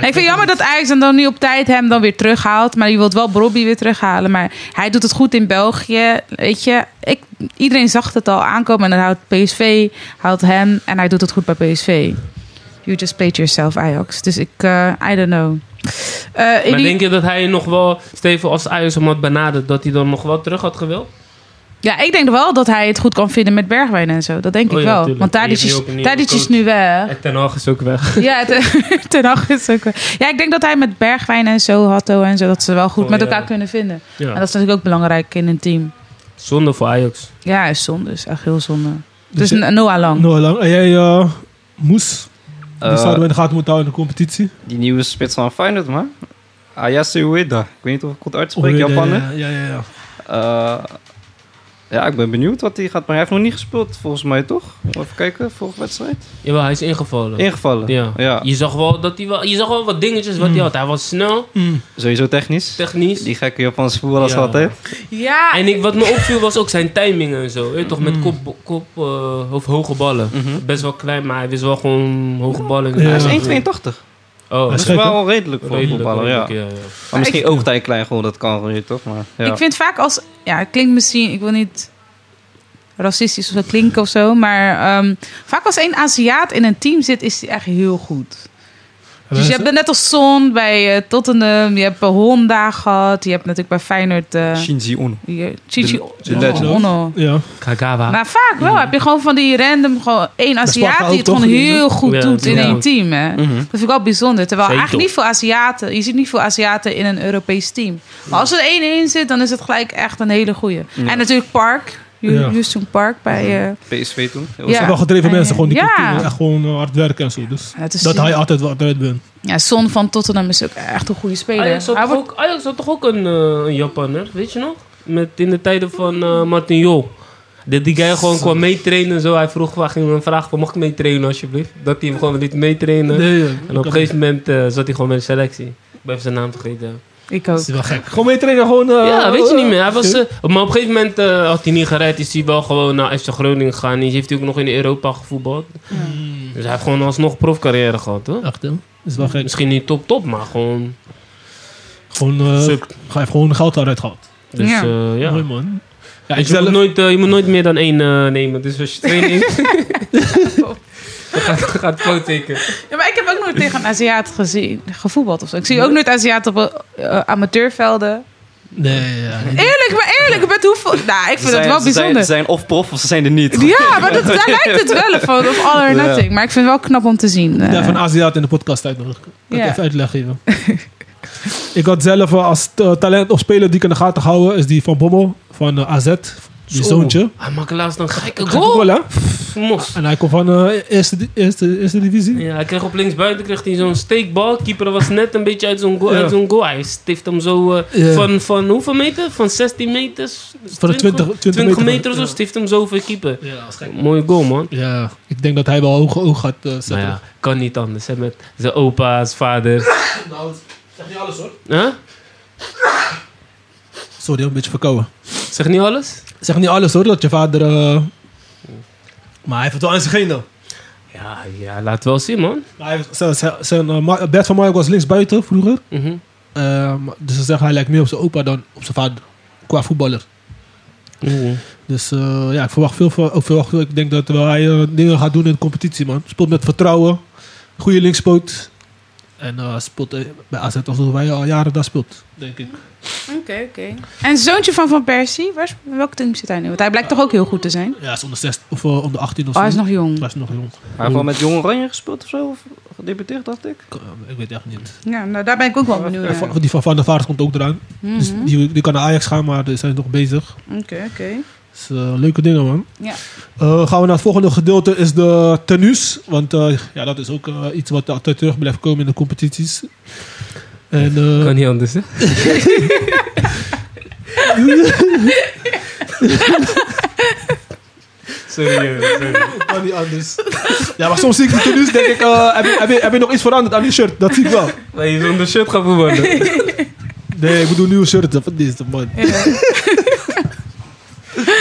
Speaker 4: vind het jammer dat Ajax hem dan nu op tijd hem dan weer terughaalt. Maar je wilt wel Bobby weer terughalen. Maar hij doet het goed in België. Weet je, ik, iedereen zag het al aankomen. En dan houdt PSV, houdt hem. En hij doet het goed bij PSV. You just played yourself, Ajax. Dus ik, eh, I don't know. Eh,
Speaker 1: Maar
Speaker 4: Edi-
Speaker 1: denk je dat hij nog wel... Steven, als Ajax hem had benaderd... dat hij dan nog wel terug had gewild?
Speaker 4: Ja, ik denk wel dat hij het goed kan vinden met Bergwijn en zo. Dat denk
Speaker 1: Oh
Speaker 4: ik
Speaker 1: ja,
Speaker 4: wel.
Speaker 1: tuurlijk.
Speaker 4: Want
Speaker 1: Die
Speaker 4: Tadic
Speaker 1: is nu
Speaker 4: is,
Speaker 1: ook een nieuwe
Speaker 4: Tadic is
Speaker 1: coach.
Speaker 4: nu weg.
Speaker 1: En Ten Hag is ook weg.
Speaker 4: Ja, ten, ten Hag is ook wel- Ja, ik denk dat hij met Bergwijn en zo, Hatto en zo, dat ze wel goed
Speaker 1: Oh,
Speaker 4: met
Speaker 1: ja.
Speaker 4: elkaar kunnen vinden.
Speaker 1: Ja.
Speaker 4: En dat is natuurlijk ook belangrijk in een team.
Speaker 1: Zonde voor Ajax.
Speaker 4: Ja, is zonde. Is echt heel zonde.
Speaker 3: Dus
Speaker 4: Dus N- Noah Lang.
Speaker 3: Noah Lang. En jij, eh, Moes? Die
Speaker 2: Eh,
Speaker 3: zouden we in de gaten moeten houden in de competitie.
Speaker 2: Die nieuwe spits van Feyenoord, man. Ayase Ueda. Ik weet niet of ik het uitspreek,
Speaker 3: Alweer, eh,
Speaker 2: Japaner.
Speaker 3: Ja, ja, ja.
Speaker 2: Eh, ja, ik ben benieuwd wat hij gaat. Maar hij heeft nog niet gespeeld, volgens mij, toch? Even kijken, vorige wedstrijd.
Speaker 1: Jawel, hij is ingevallen.
Speaker 2: Ingevallen.
Speaker 1: ja.
Speaker 2: ja.
Speaker 1: Je, zag wel dat hij wel, je zag wel wat dingetjes wat hij had. Hij was snel,
Speaker 3: Mm.
Speaker 2: Sowieso technisch.
Speaker 1: technisch.
Speaker 2: Die gekke Japanse voetballers
Speaker 1: Ja.
Speaker 2: altijd.
Speaker 4: Ja,
Speaker 1: En ik, wat me opviel was ook zijn timing en zo. Weet je toch, met kop, kop eh, of hoge ballen.
Speaker 2: Mm.
Speaker 1: Best wel klein, maar hij wist wel gewoon hoge ballen.
Speaker 3: Ja.
Speaker 2: Hij is
Speaker 3: Ja.
Speaker 2: 1,82.
Speaker 1: Oh,
Speaker 3: Hij
Speaker 2: Dat
Speaker 3: is
Speaker 2: is
Speaker 3: gek,
Speaker 2: wel redelijk voor een
Speaker 1: redelijk,
Speaker 2: voetballer, ja.
Speaker 1: redelijk, ja, ja.
Speaker 2: Maar misschien oogt hij klein gewoon, dat kan gewoon, toch? Maar, ja.
Speaker 4: ik vind vaak als... Ja, het klinkt misschien... Ik wil niet racistisch of zo klinken of zo. Maar ehm, vaak als één Aziat in een team zit, is die echt heel goed. Dus je hebt net als Son bij eh, Tottenham. Je hebt bij Honda gehad. Je hebt natuurlijk bij Feyenoord... eh
Speaker 2: Shinji Ono.
Speaker 4: je- Chichi
Speaker 2: de legend.
Speaker 4: Ono.
Speaker 3: Ja.
Speaker 1: Kagawa.
Speaker 4: Maar vaak wel. Heb je gewoon van die random, gewoon één
Speaker 3: Sparta
Speaker 4: Aziat
Speaker 3: ook
Speaker 4: die het
Speaker 3: toch,
Speaker 4: gewoon
Speaker 3: die-
Speaker 4: heel goed
Speaker 1: Ja,
Speaker 4: doet in
Speaker 1: ja.
Speaker 4: één team. Hè?
Speaker 2: Mhm.
Speaker 4: Dat vind ik wel bijzonder. Terwijl
Speaker 1: Zeker.
Speaker 4: eigenlijk niet veel Aziaten, je ziet niet veel Aziaten in een Europees team. Maar als er één in zit, dan is het gelijk echt een hele goeie.
Speaker 2: Ja.
Speaker 4: En natuurlijk Park, Hu-
Speaker 3: Ja. Mhm.
Speaker 4: Houston Park bij... eh,
Speaker 2: PSV toen. Heel
Speaker 4: Ja.
Speaker 2: snel.
Speaker 3: Wel gedreven
Speaker 4: En,
Speaker 3: mensen, gewoon die
Speaker 4: ja.
Speaker 3: cultuur. Echt gewoon eh, hard werken en zo. Dus
Speaker 4: het is-
Speaker 3: dat hij altijd wat eruit bent.
Speaker 4: ja, Son van Tottenham is ook echt een goede speler.
Speaker 1: Ajax had,
Speaker 4: Hij
Speaker 1: toch
Speaker 4: wordt-
Speaker 1: ook, Ajax had toch ook een eh, Japaner, weet je nog? Met, in de tijden van eh, Martin Jol. Dat die guy gewoon kwam meetrainen en zo. Hij vroeg, hij ging een vraag van, mag ik meetrainen alsjeblieft? Dat hij hem gewoon liet meetrainen.
Speaker 3: Nee, ja.
Speaker 1: En op een gegeven moment eh, zat hij gewoon met de selectie. Ik ben even zijn naam vergeten.
Speaker 4: Ik ook.
Speaker 3: is wel gek. Gewoon mee trainen, gewoon... eh,
Speaker 1: ja, weet je niet meer. Hij was,
Speaker 3: oké.
Speaker 1: eh, maar op een gegeven moment eh, had hij niet gered. Is hij wel gewoon naar FC Groningen gegaan. Die heeft hij ook nog in Europa gevoetbald.
Speaker 3: Mm,
Speaker 1: Dus hij heeft gewoon alsnog profcarrière gehad, hoor.
Speaker 3: Echt, hè? Is wel gek.
Speaker 1: Misschien niet top top, maar gewoon
Speaker 3: Gewoon, eh,
Speaker 1: sub.
Speaker 3: hij heeft gewoon goud eruit gehad.
Speaker 1: Dus
Speaker 4: Ja.
Speaker 1: ja, ja.
Speaker 3: Mooi, man. Ja, ik
Speaker 1: Dus je,
Speaker 3: zelf...
Speaker 1: moet nooit, eh, je moet nooit meer dan één eh, nemen. Dus als je twee neemt... dan gaat, dan gaat het fout zeker.
Speaker 4: Ja, maar ik heb ook nooit tegen een Aziat gezien, gevoetbald of zo. Ik zie ook nooit Aziaten op eh, eh, amateurvelden.
Speaker 3: Nee, ja.
Speaker 4: Eerlijk, maar eerlijk, met hoeveel... Nou, ik vind
Speaker 2: Ze
Speaker 4: dat
Speaker 2: zijn-
Speaker 4: wel
Speaker 2: ze zijn-
Speaker 4: bijzonder.
Speaker 2: Ze zijn of prof of ze zijn er niet.
Speaker 4: Ja, maar dat, daar lijkt het wel van. Of all or
Speaker 2: Ja.
Speaker 4: nothing. Maar ik vind het wel knap om te zien. eh.
Speaker 3: Ja, van Aziat in de podcast uitnodigen. Kan
Speaker 4: Ja.
Speaker 3: ik even uitleg geven. ik had zelf eh, als eh, talent of speler die ik in de gaten houden, is die van Bommel, van eh, AZ,
Speaker 1: Zo.
Speaker 3: die zoontje.
Speaker 1: Hij maakt laatst een gekke
Speaker 3: Gaat ook
Speaker 1: goal.
Speaker 3: wel, hè?
Speaker 1: Mos.
Speaker 3: En hij komt van eh, eerste, di- eerste, eerste divisie.
Speaker 1: Ja, hij kreeg op linksbuiten kreeg hij zo'n steekbal. Keeper was net een beetje uit zo'n goal.
Speaker 3: Ja.
Speaker 1: Uit zo'n goal. Hij stift hem zo eh,
Speaker 3: Ja.
Speaker 1: van, van hoeveel meter? Van 16 meters?
Speaker 3: Van de 20 meter.
Speaker 1: 20 meter of zo
Speaker 3: Ja.
Speaker 1: stift hem zo voor keeper.
Speaker 3: Ja, dat is gek.
Speaker 1: Mooie goal, man.
Speaker 3: Ja, ik denk dat hij wel hoog oog gaat eh, zetten.
Speaker 1: Maar ja, kan niet anders. Hè, met zijn opa, zijn vader.
Speaker 3: Nou, zeg niet alles hoor.
Speaker 1: Huh?
Speaker 3: Sorry, een beetje verkouden.
Speaker 1: Zeg niet alles?
Speaker 3: Zeg niet alles hoor, dat je vader... eh, Maar hij heeft het wel aan zijn genen.
Speaker 1: Ja, ja laat wel zien, man.
Speaker 3: Maar hij heeft- Zijn, zijn, zijn, eh, Ma- Bert van Mark was linksbuiten vroeger.
Speaker 1: Mhm.
Speaker 3: Eh, maar- dus ze zeggen hij lijkt meer op zijn opa dan op zijn vader. Qua voetballer.
Speaker 1: Mhm.
Speaker 3: Dus eh, ja, ik verwacht veel van. Ook verwacht, veel. ik denk dat wel hij eh, dingen gaat doen in de competitie, man. Speelt met vertrouwen. Goede linkspoot. En eh, speelt eh, bij AZ alsof hij al jaren daar speelt. Denk ik.
Speaker 4: Oké, oké. En zoontje van Van Persie, waar, is- welk team zit hij nu? Want hij blijkt toch ook heel goed te zijn?
Speaker 3: Ja, hij is onder, 6, of, eh, onder 18 of
Speaker 4: Oh,
Speaker 3: zo.
Speaker 4: hij is nog jong.
Speaker 3: Hij is nog jong.
Speaker 2: Hij heeft wel met Jong Oranje gespeeld of zo, of gedebuteerd, dacht ik.
Speaker 3: Ik, eh, ik weet echt niet.
Speaker 4: Ja, nou, daar ben ik ook wel
Speaker 3: Ja,
Speaker 4: benieuwd naar.
Speaker 3: van- Die van Van der Vaart komt ook eraan.
Speaker 4: Mhm.
Speaker 3: Dus die, die kan naar Ajax gaan, maar daar zijn ze nog bezig.
Speaker 4: Oké, oké.
Speaker 3: Dus eh, leuke dingen, man.
Speaker 4: Ja.
Speaker 3: Eh, gaan we naar het volgende gedeelte, is de tenues. Want eh, ja, dat is ook eh, iets wat altijd terug blijft komen in de competities. En, eh,
Speaker 1: Kan niet anders, hè? sorry, jongen, sorry.
Speaker 3: kan niet anders. ja, maar soms zie ik de tenues, denk ik, eh, heb, je, heb, je, heb je nog iets veranderd aan die shirt? Dat zie ik wel.
Speaker 1: Maar je zonder shirt gaat voetballen.
Speaker 3: Nee, ik bedoel nieuwe shirts. Wat is het, man?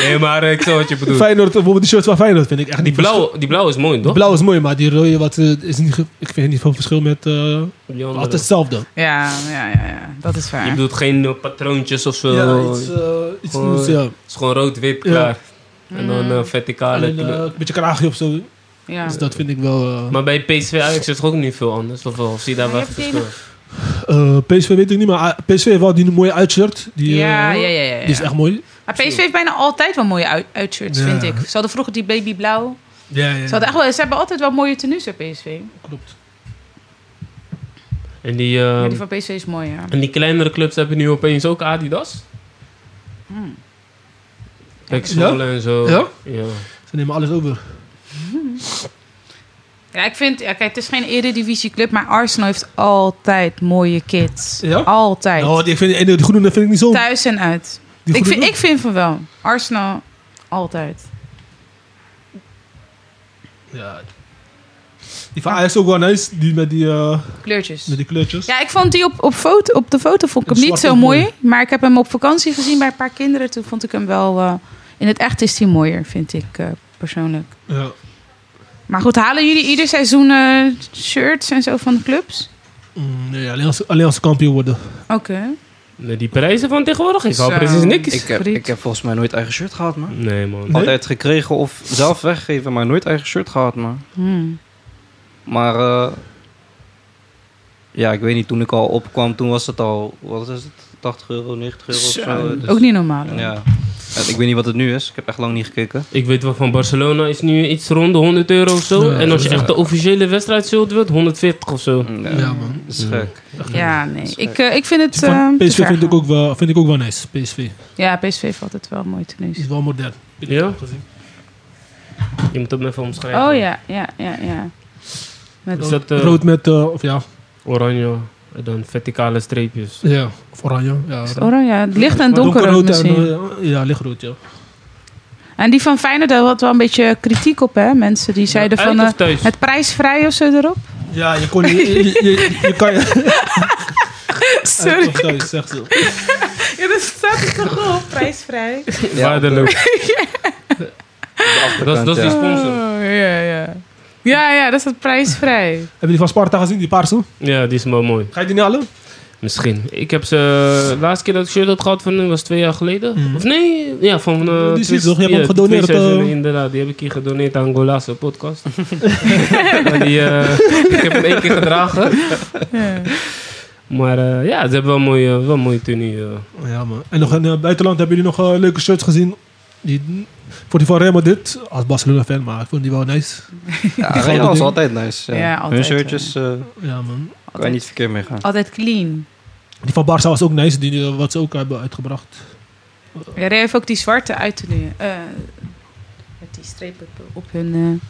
Speaker 1: Nee, maar eh, ik snap wat je bedoelt.
Speaker 3: Feyenoord, bijvoorbeeld die shirts van Feyenoord vind ik echt
Speaker 1: Die
Speaker 3: niet
Speaker 1: blauwe, die blauwe is mooi,
Speaker 3: verschil-
Speaker 1: toch?
Speaker 3: Blauw is mooi, maar die rode wat, eh, is niet, ge- ik vind niet van verschil met... eh
Speaker 1: Die andere.
Speaker 3: altijd hetzelfde.
Speaker 4: Ja, ja, ja, ja, dat is
Speaker 1: Je
Speaker 4: waar.
Speaker 1: bedoelt geen eh, patroontjes of zo.
Speaker 3: iets, eh, iets
Speaker 1: Gewoon-
Speaker 3: nieuws, ja.
Speaker 1: Het is gewoon rood-wit
Speaker 3: Ja.
Speaker 1: klaar. En
Speaker 4: Mm.
Speaker 1: dan eh, verticale
Speaker 3: Alleen, eh,
Speaker 1: kleur.
Speaker 3: een beetje kraagje of zo.
Speaker 4: Ja.
Speaker 3: Dus dat vind ik wel... eh,
Speaker 1: Maar bij PSV Ajax is het ook niet veel anders. Of, wel? of zie je daar
Speaker 4: Maar
Speaker 1: wel
Speaker 4: je hebt die
Speaker 1: verschil?
Speaker 3: Eh, PSV weet ik niet, maar eh, PSV heeft wel die mooie uitshirt. Die, eh,
Speaker 4: Ja, ja, ja, ja, ja.
Speaker 3: Die
Speaker 2: Dus
Speaker 3: is echt mooi.
Speaker 4: Maar PSV heeft bijna altijd wel mooie uit- uitshirts,
Speaker 3: Ja.
Speaker 4: vind ik. Ze hadden vroeger die babyblauw.
Speaker 3: Ja, ja.
Speaker 4: Ze, hadden echt wel, ze hebben altijd wel mooie tenues bij PSV.
Speaker 3: Klopt.
Speaker 1: En die, eh,
Speaker 4: Ja,
Speaker 3: Ehm.
Speaker 4: die van PSV is mooi, ja.
Speaker 1: en die kleinere clubs hebben nu opeens ook Adidas.
Speaker 4: Hmm.
Speaker 1: Kijk, Zwolle en zo.
Speaker 3: Ja?
Speaker 1: Ja.
Speaker 3: Ze nemen alles over.
Speaker 4: Ja, ik vind, ja, kijk, het is geen eredivisieclub, maar Arsenal heeft altijd mooie kids.
Speaker 3: Ja?
Speaker 4: Altijd.
Speaker 3: Nou, die, ik vind, en die groene vind ik niet zo.
Speaker 4: Thuis en uit.
Speaker 3: Die
Speaker 4: Ik
Speaker 3: groene
Speaker 4: vind,
Speaker 3: ook.
Speaker 4: ik vind van wel. Arsenal, altijd.
Speaker 3: Ja. Die van Ajax is ook wel nice. Die met die, eh,
Speaker 4: Kleurtjes.
Speaker 3: met die kleurtjes.
Speaker 4: Ja, ik vond die op, op, foto, op de foto vond ik
Speaker 3: Het
Speaker 4: hem
Speaker 3: zwart
Speaker 4: niet zo
Speaker 3: ook
Speaker 4: mooi.
Speaker 3: mooi.
Speaker 4: Maar ik heb hem op vakantie gezien bij een paar kinderen. Toen vond ik hem wel... eh, in het echt is hij mooier, vind ik eh, persoonlijk.
Speaker 3: Ja.
Speaker 4: Maar goed, halen jullie ieder seizoen eh, shirts en zo van de clubs?
Speaker 3: Mm, nee, alleen als, alleen als ze kampioen worden.
Speaker 4: Oké.
Speaker 1: Nee, Die prijzen van tegenwoordig, ik hou
Speaker 4: Zo.
Speaker 1: precies niks.
Speaker 2: Ik heb,
Speaker 4: Friet.
Speaker 2: ik heb volgens mij nooit eigen shirt gehad, man.
Speaker 1: Nee, man.
Speaker 3: Nee?
Speaker 2: Altijd gekregen of zelf weggegeven, maar nooit eigen shirt gehad, man.
Speaker 4: Hmm.
Speaker 2: Maar eh, ja, ik weet niet, toen ik al opkwam, toen was het al, wat is het, 80 euro, 90 euro of
Speaker 4: Zo,
Speaker 2: zo. dus-
Speaker 4: Ook niet normaal. hoor.
Speaker 2: Ja. Ja, Ik weet niet wat het nu is, ik heb echt lang niet gekeken.
Speaker 1: Ik weet wel van Barcelona is nu iets rond de 100 euro of zo.
Speaker 3: Ja,
Speaker 1: en als je
Speaker 3: ja.
Speaker 1: echt de officiële wedstrijd zult, wordt 140 of zo.
Speaker 2: Ja,
Speaker 3: Ja, man.
Speaker 2: dat is gek.
Speaker 4: Ja, nee. Ik, eh, ik vind het...
Speaker 3: Van
Speaker 4: eh, te
Speaker 3: PSV
Speaker 4: ver
Speaker 3: vind ik,
Speaker 4: gaan.
Speaker 3: ook wel, vind ik ook wel nice. PSV.
Speaker 4: Ja, PSV heeft altijd wel mooi tenues.
Speaker 3: Die is wel modern. Vind ik
Speaker 1: Ja?
Speaker 3: ook gezien.
Speaker 1: Je moet dat me even omschrijven.
Speaker 4: Oh ja, ja, ja, ja. Met
Speaker 1: Is dat eh,
Speaker 3: Rood met, eh, of ja,
Speaker 1: oranje en dan verticale streepjes?
Speaker 3: ja, of oranje. Ja, rood.
Speaker 4: oranje, ja, het licht en donker ook
Speaker 3: Donkerrood
Speaker 4: misschien. En,
Speaker 3: en, eh, ja, lichtrood, ja.
Speaker 4: die van Feyenoord, daar had wel een beetje kritiek op, hè? Mensen die zeiden
Speaker 1: Uit
Speaker 4: van
Speaker 1: of
Speaker 4: eh,
Speaker 1: thuis?
Speaker 4: het prijsvrij of zo erop.
Speaker 3: Ja, je kon niet, je, je, je, je kan je...
Speaker 4: Sorry,
Speaker 3: Thuis, zeg zo.
Speaker 4: ja, dat staat er toch op, prijsvrij.
Speaker 1: Waardeloos.
Speaker 2: De
Speaker 1: Dat, is-
Speaker 2: achterkant,
Speaker 1: dat is die
Speaker 2: ja.
Speaker 1: sponsor.
Speaker 4: Oh, ja, ja. Ja, ja, dat staat prijsvrij.
Speaker 3: Hebben die van Sparta gezien, die paarse?
Speaker 1: Ja, die is wel mooi.
Speaker 3: Ga je die niet halen?
Speaker 1: Misschien. Ik heb ze... De laatste keer dat ik shirt had gehad van hun was twee jaar geleden. Of nee, ja, van... eh,
Speaker 3: Mhm. Die is
Speaker 1: twee-
Speaker 3: toch? Je hebt
Speaker 1: ja,
Speaker 3: hem gedoneerd,
Speaker 1: twee seizoenen,
Speaker 3: eh.
Speaker 1: inderdaad, die heb ik hier gedoneerd aan Golazo podcast. Maar die, eh, ik heb hem één keer gedragen.
Speaker 4: Ja.
Speaker 1: Maar eh, ja, ze hebben wel een mooie, wel een mooie tenue. eh.
Speaker 3: Ja, man. En nog in het buitenland hebben jullie nog eh, leuke shirts gezien. Die, ik vond die van Real Madrid, als Barcelona-fan, maar ik vond die wel nice.
Speaker 2: Ja,
Speaker 3: gouden
Speaker 2: Real is
Speaker 3: ding.
Speaker 2: altijd nice. Ja.
Speaker 4: Ja, altijd,
Speaker 2: Hun shirtjes eh,
Speaker 3: Ja, man.
Speaker 2: kan je
Speaker 4: Altijd,
Speaker 2: niet verkeerd mee gaan.
Speaker 4: altijd clean.
Speaker 3: Die van Barca was ook nice, die, eh, wat ze ook hebben uitgebracht.
Speaker 4: Ja, Ray heeft ook die zwarte uit te nu. eh, met die strepen op- op hun... eh.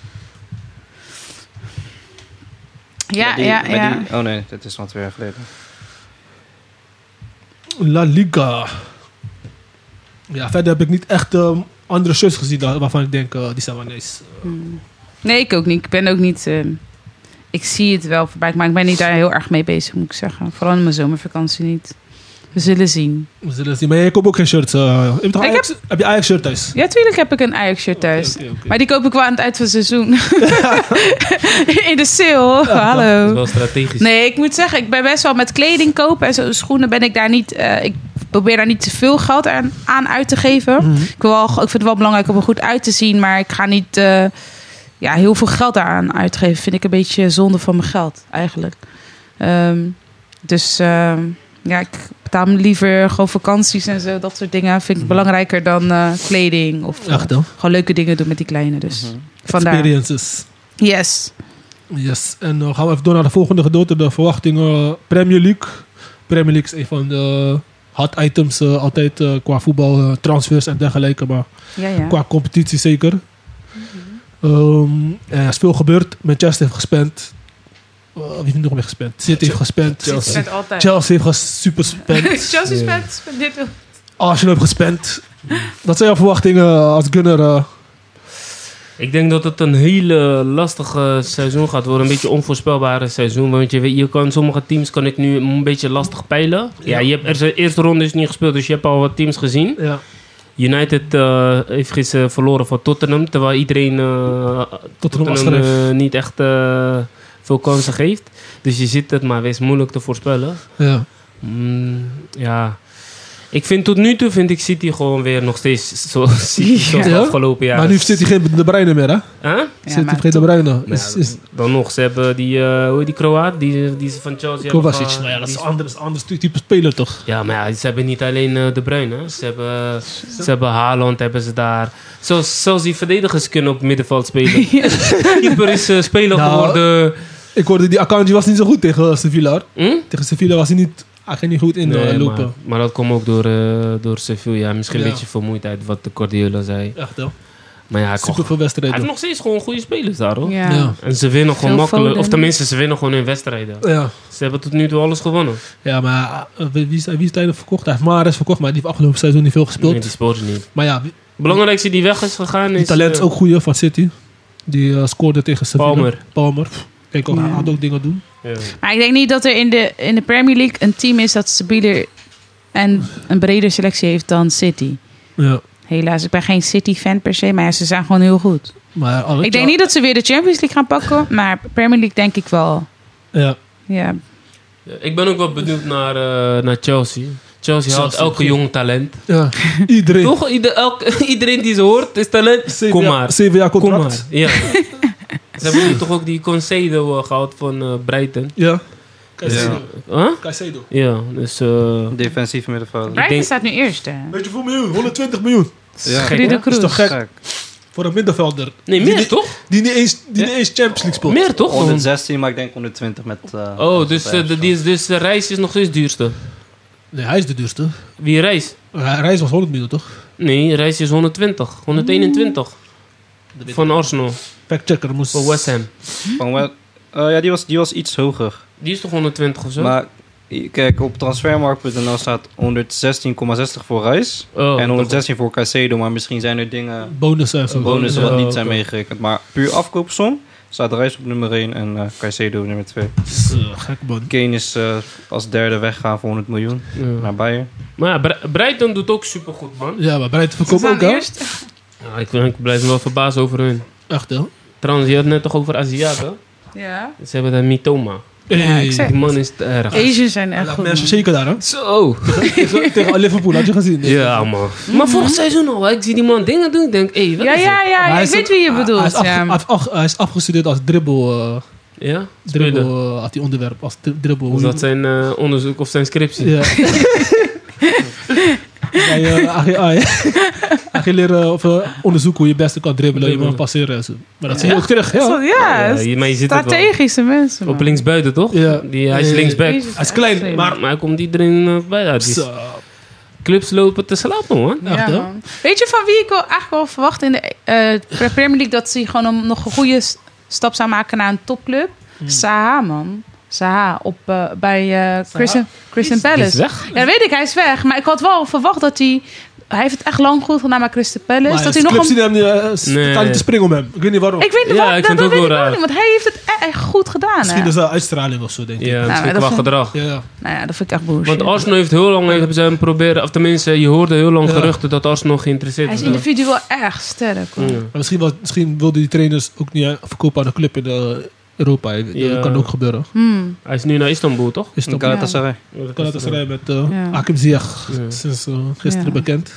Speaker 4: Ja,
Speaker 2: Met die-
Speaker 4: ja,
Speaker 2: met
Speaker 4: ja.
Speaker 2: die- oh nee, dat is van twee jaar geleden.
Speaker 3: La Liga. Ja, verder heb ik niet echt eh, andere shirts gezien da- waarvan ik denk, eh, die zijn wel nice.
Speaker 4: Hmm. Nee, ik ook niet. Ik ben ook niet... eh, ik zie het wel voorbij, maar ik ben niet daar heel erg mee bezig, moet ik zeggen. Vooral in mijn zomervakantie niet. We zullen zien.
Speaker 3: We zullen zien. Maar jij koopt ook geen shirts. eh. je hebt toch
Speaker 4: Ik
Speaker 3: Ajax- heb... je Ajax-shirt thuis?
Speaker 4: Ja, tuurlijk heb ik een Ajax-shirt thuis.
Speaker 3: Oké, oké, oké.
Speaker 4: Maar die koop ik wel aan het eind van het seizoen. in de sale.
Speaker 1: Dat is
Speaker 3: Oh.
Speaker 4: Hallo.
Speaker 1: wel strategisch.
Speaker 4: Nee, ik moet zeggen, ik ben best wel met kleding kopen en zo, schoenen ben ik daar niet. eh, ik probeer daar niet te veel geld aan, aan uit te geven.
Speaker 3: Mhm.
Speaker 4: Ik, wil wel, ik vind het wel belangrijk om er goed uit te zien, maar ik ga niet eh, ja, heel veel geld daaraan uitgeven. Vind ik een beetje zonde van mijn geld eigenlijk. Ehm, dus ehm, ja, ik betaal me liever gewoon vakanties en zo, dat soort dingen. Vind ik belangrijker dan eh, kleding of eh,
Speaker 3: Echt hoor.
Speaker 4: gewoon leuke dingen doen met die kleine. Dus
Speaker 2: Mhm.
Speaker 4: vandaar.
Speaker 3: Experiences.
Speaker 4: Yes.
Speaker 3: Yes. En dan gaan we even door naar de volgende gedeelte, de verwachtingen. Premier League. Premier League is een van de hot items eh, altijd eh, qua voetbal, eh, transfers en dergelijke. Maar
Speaker 4: Ja, ja.
Speaker 3: qua competitie zeker. Ehm, er is veel gebeurd. Manchester heeft gespend. Eh, wie heeft nog meer gespend? City heeft gespend.
Speaker 4: Chelsea
Speaker 3: Chelsea
Speaker 4: spent altijd.
Speaker 3: heeft ges- super spend.
Speaker 4: Chelsea
Speaker 1: Ja.
Speaker 4: spent, spendeert heel-
Speaker 3: Arsenal heeft gespend. Wat zijn jouw verwachtingen als Gunner? eh?
Speaker 1: Ik denk dat het een hele lastige seizoen gaat worden. Een beetje onvoorspelbare seizoen. Want je, weet- je kan, sommige teams kan ik nu een beetje lastig peilen. Ja, je hebt, er zijn eerste ronde is niet gespeeld, dus je hebt al wat teams gezien.
Speaker 3: ja.
Speaker 1: United eh, heeft gisteren verloren van Tottenham. Terwijl iedereen eh,
Speaker 3: Tottenham
Speaker 1: Tottenham
Speaker 3: afschreef.
Speaker 1: eh, niet echt eh, veel kansen geeft. Dus je ziet het, maar het is moeilijk te voorspellen.
Speaker 3: ja.
Speaker 1: Mm, ja. Ik vind tot nu toe vind ik City gewoon weer nog steeds zo City zoals
Speaker 3: Ja?
Speaker 1: de afgelopen jaar.
Speaker 3: Maar nu heeft City geen De Bruyne meer, hè?
Speaker 1: Huh?
Speaker 4: Ja,
Speaker 3: City
Speaker 4: maar
Speaker 3: heeft geen De Bruyne. Is,
Speaker 1: Nou,
Speaker 3: is
Speaker 1: Dan nog, ze hebben die, eh, hoe heet die Kroaat, die, die ze van Chelsea
Speaker 3: Kovacic.
Speaker 1: hebben
Speaker 3: Nou ja, dat is
Speaker 1: die-
Speaker 3: een ander, dat is een ander type speler, toch?
Speaker 1: Ja, maar ja, ze hebben niet alleen eh, De Bruyne. hè. Ze hebben, ze hebben Haaland, hebben ze daar. Zelfs, zelfs die verdedigers kunnen op middenveld spelen. Keeper is eh, speler
Speaker 3: Nou.
Speaker 1: geworden.
Speaker 3: Ik hoorde die Akanji was niet zo goed tegen eh, Sevilla. hoor.
Speaker 1: Hm?
Speaker 3: Tegen Sevilla was hij niet, hij ging niet goed in eh,
Speaker 1: Nee, maar,
Speaker 3: lopen.
Speaker 1: maar dat komt ook door, eh door Sevilla. Misschien
Speaker 3: Ja.
Speaker 1: een beetje vermoeidheid, wat de Guardiola zei.
Speaker 3: Echt, hè?
Speaker 1: Maar ja, hij kon-
Speaker 3: Super veel
Speaker 1: hij heeft
Speaker 3: wedstrijden.
Speaker 1: nog steeds gewoon goede spelers daar, hoor.
Speaker 4: Ja.
Speaker 3: Ja.
Speaker 1: En ze winnen gewoon
Speaker 4: Veel
Speaker 1: makkelijk. Of
Speaker 4: Foden.
Speaker 1: tenminste, ze winnen gewoon hun wedstrijden.
Speaker 3: Ja.
Speaker 1: Ze hebben tot nu toe alles gewonnen.
Speaker 3: ja, maar eh, wie, wie is, wie is hij nog verkocht? Hij heeft Mares verkocht, maar die heeft afgelopen seizoen niet veel gespeeld.
Speaker 1: Nee, die speelde niet.
Speaker 3: Maar ja, die-
Speaker 1: Belangrijkste die weg is gegaan
Speaker 3: die
Speaker 1: is...
Speaker 3: talent is
Speaker 1: eh,
Speaker 3: ook goede van City. Die eh, scoorde tegen Sevilla.
Speaker 1: Palmer.
Speaker 3: Palmer. Kijk, ook, hij
Speaker 4: Ja.
Speaker 3: had ook dingen doen.
Speaker 1: ja.
Speaker 4: Maar ik denk niet dat er in de, in de Premier League een team is dat stabieler en een breder selectie heeft dan City.
Speaker 3: Ja.
Speaker 4: Helaas, ik ben geen City-fan per se, maar ja, ze zijn gewoon heel goed.
Speaker 3: Maar
Speaker 4: Ik denk niet dat ze weer de Champions League gaan pakken, maar Premier League denk ik wel.
Speaker 3: Ja.
Speaker 4: Ja,
Speaker 1: Ja, Ik ben ook wel benieuwd naar, eh, naar Chelsea. Chelsea haalt
Speaker 3: Chelsea,
Speaker 1: elke
Speaker 3: goed.
Speaker 1: jong talent.
Speaker 3: ja. Iedereen.
Speaker 1: Toch? Ieder, elk- iedereen die ze hoort is talent.
Speaker 3: Zeven
Speaker 1: Kom
Speaker 3: jaar-
Speaker 1: maar.
Speaker 3: Zeven jaar
Speaker 1: Kom
Speaker 3: contract.
Speaker 1: maar. Ja. ze hebben nu toch ook die Concedo eh, gehaald van eh, Brighton.
Speaker 3: Ja.
Speaker 2: Caicedo.
Speaker 1: Huh?
Speaker 3: Caicedo.
Speaker 1: Ja, dus... eh
Speaker 2: Defensief middenvelder.
Speaker 4: Brighton
Speaker 1: denk-
Speaker 4: staat nu eerste.
Speaker 3: Beetje voor miljoen, 120 miljoen.
Speaker 2: Ja.
Speaker 1: gek,
Speaker 4: Ruud
Speaker 1: hè?
Speaker 4: de Kroes.
Speaker 3: Is toch gek?
Speaker 2: Gek.
Speaker 3: Voor een middenvelder.
Speaker 1: Nee,
Speaker 3: Die
Speaker 1: meer
Speaker 3: niet-
Speaker 1: toch?
Speaker 3: Die niet eens, die
Speaker 1: Ja.
Speaker 3: niet eens Champions League speelt.
Speaker 1: Meer toch?
Speaker 2: 116, maar ik denk 120 met... eh,
Speaker 1: Oh, dus, eh, de,
Speaker 2: Ajax.
Speaker 1: die is, dus de reis is nog steeds duurste.
Speaker 3: Nee, hij is de duurste.
Speaker 1: Wie reis?
Speaker 3: Hij reis was 100 miljoen, toch?
Speaker 1: Nee, reis is 120. 121.
Speaker 3: De
Speaker 1: Van Arsenal.
Speaker 3: Factchecker moest...
Speaker 1: Van West Ham.
Speaker 2: Van wel- eh, ja, die was, die was iets hoger.
Speaker 1: Die is toch 120 of zo?
Speaker 2: Maar kijk, op transfermarkt.nl staat 116,60 voor Reis.
Speaker 1: Oh,
Speaker 2: en
Speaker 1: toch.
Speaker 2: 116 voor Caicedo, maar misschien zijn er dingen,
Speaker 3: Bonussen en zo.
Speaker 2: bonussen
Speaker 1: ja,
Speaker 2: wat niet
Speaker 1: oké.
Speaker 2: zijn meegerekend. Maar puur afkoopsom staat Reis op nummer 1 en eh Caicedo op nummer 2.
Speaker 3: Eh, Gek, man.
Speaker 2: Kane is eh, als derde weggaan voor 100 miljoen
Speaker 1: Ja.
Speaker 2: naar Bayern.
Speaker 1: Maar ja, Bre- Brighton doet ook supergoed, man.
Speaker 3: Ja, maar Breiten
Speaker 4: Ze
Speaker 3: verkoopt
Speaker 4: staan
Speaker 3: ook, hè?
Speaker 4: eerst.
Speaker 1: Ja, ik, ik blijf me wel verbaasd over hun.
Speaker 3: Echt, hè?
Speaker 1: Trouwens, je had het net toch over Aziaten?
Speaker 4: Ja.
Speaker 1: Ze hebben daar Mitoma.
Speaker 4: Ja, ik
Speaker 3: Hey.
Speaker 4: zeg-
Speaker 1: Die man is te erg.
Speaker 4: Asians zijn echt
Speaker 3: Laat
Speaker 4: goed.
Speaker 3: mensen
Speaker 4: man.
Speaker 3: shaken daar, hè?
Speaker 1: Zo!
Speaker 3: Tegen- Tegen Liverpool, had je gezien?
Speaker 1: Ja, man. Maar vorig seizoen al, hè, ik zie die man dingen doen. Ik denk, hé, hey, wat
Speaker 4: Ja,
Speaker 1: is
Speaker 4: ja,
Speaker 1: dit?
Speaker 4: ja,
Speaker 3: Maar hij
Speaker 4: ik
Speaker 3: is-
Speaker 4: weet wie je
Speaker 3: Hij is,
Speaker 4: bedoelt.
Speaker 3: afge-
Speaker 4: ja.
Speaker 3: af- af- hij is afgestudeerd als dribbel... eh,
Speaker 1: Ja?
Speaker 3: Dribbel
Speaker 1: Spelen.
Speaker 3: eh, had hij onderwerp als dri- dribbel.
Speaker 1: Was
Speaker 3: Hoe-
Speaker 1: dat zijn eh, onderzoek of zijn scriptie?
Speaker 3: Ja. Bij eh, AGI. Agileren of eh, onderzoeken hoe je beste kan dribbelen, je
Speaker 1: Dribbelen.
Speaker 3: moet passeren en zo. Maar dat zie je ook terug.
Speaker 4: Ja,
Speaker 3: Ja.
Speaker 1: Ja,
Speaker 4: ja,
Speaker 1: je- maar je ziet het wel.
Speaker 4: strategische mensen. man.
Speaker 1: Op linksbuiten, toch?
Speaker 3: Ja.
Speaker 1: Die, hij is
Speaker 3: Ja.
Speaker 1: linksback.
Speaker 4: Jezus,
Speaker 3: Hij is klein,
Speaker 4: echt
Speaker 1: Maar, maar hij komt iedereen eh, bij. Ja, die
Speaker 3: Zo.
Speaker 1: clubs lopen te slapen, man.
Speaker 4: Ja,
Speaker 3: Echt, hè?
Speaker 4: man. Weet je van wie ik wel eigenlijk wel verwacht in de eh, Pre- Premier League dat ze gewoon een- nog een goede s- stap zou maken naar een topclub?
Speaker 1: Hmm.
Speaker 4: Saha, man. Saha op, eh, bij eh Christian, Christian
Speaker 1: Die is
Speaker 4: Palace.
Speaker 1: weg.
Speaker 4: Ja, dat weet ik, hij is weg. Maar ik had wel verwacht dat hij. Hij heeft het echt lang goed gedaan bij Crystal Palace.
Speaker 3: Maar
Speaker 4: dat
Speaker 3: de
Speaker 4: hij nog
Speaker 3: club
Speaker 4: een,
Speaker 3: zien hem eh, s-
Speaker 1: Nee.
Speaker 3: totaal niet te springen om hem. Ik weet niet waarom.
Speaker 4: ik weet niet
Speaker 1: Ja, ik
Speaker 4: wat- dat,
Speaker 1: vind
Speaker 4: dat
Speaker 1: het ook
Speaker 4: weet ik
Speaker 1: wel
Speaker 4: ook
Speaker 1: raar.
Speaker 4: niet, want hij heeft het e- echt goed gedaan.
Speaker 3: Misschien
Speaker 4: Hè?
Speaker 3: is dat uitstraling of zo, denk ik.
Speaker 1: Ja,
Speaker 4: maar
Speaker 1: misschien
Speaker 4: dat
Speaker 1: qua
Speaker 4: vond-
Speaker 1: gedrag.
Speaker 3: Ja, ja.
Speaker 4: Nou ja, dat vind ik echt
Speaker 2: Oh,
Speaker 4: bullshit.
Speaker 1: Want Arsenal heeft heel lang hebben ze hem proberen... Of tenminste, je hoorde heel lang
Speaker 3: Ja.
Speaker 1: geruchten dat Arsenal geïnteresseerd
Speaker 4: hij is
Speaker 1: was.
Speaker 4: individueel echt sterk. hoor.
Speaker 1: Ja.
Speaker 3: Maar misschien, was, misschien wilden die trainers ook niet eh, verkopen aan de club in eh, Europa. Dat
Speaker 1: Ja.
Speaker 3: kan ook gebeuren.
Speaker 4: Hmm,
Speaker 1: Hij is nu naar Istanbul, toch?
Speaker 3: Is dat
Speaker 2: Galatasaray.
Speaker 3: kan het schrijven met eh
Speaker 4: Ja.
Speaker 3: Hakim Ziyech,
Speaker 1: Ja.
Speaker 3: sinds eh, gisteren
Speaker 4: Ja.
Speaker 3: bekend.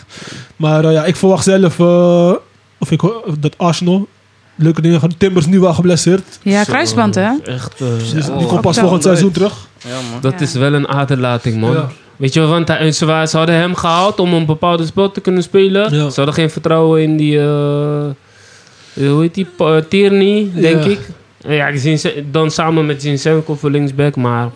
Speaker 3: Maar eh, ja, ik verwacht zelf eh, of ik, hoor- dat Arsenal leuke dingen gaan. Timbers nu wel geblesseerd.
Speaker 4: Ja,
Speaker 1: Zo,
Speaker 4: kruisband, hè?
Speaker 1: Echt, eh,
Speaker 3: Dus
Speaker 2: Ja.
Speaker 3: die komt pas
Speaker 4: Oh.
Speaker 3: volgend seizoen terug.
Speaker 2: Ja, man.
Speaker 1: dat
Speaker 4: Ja.
Speaker 1: is wel een aderlating, man.
Speaker 3: Ja.
Speaker 1: Weet je, wel, want hij, ze, wa- ze hadden hem gehaald om een bepaalde spel te kunnen spelen.
Speaker 3: Ja.
Speaker 1: Ze hadden geen vertrouwen in die... eh, hoe heet die? Pa- eh, Tierney, denk
Speaker 3: Ja.
Speaker 1: ik. Eh, Ja, Zinse- dan samen met Zinchenko voor linksback. Maar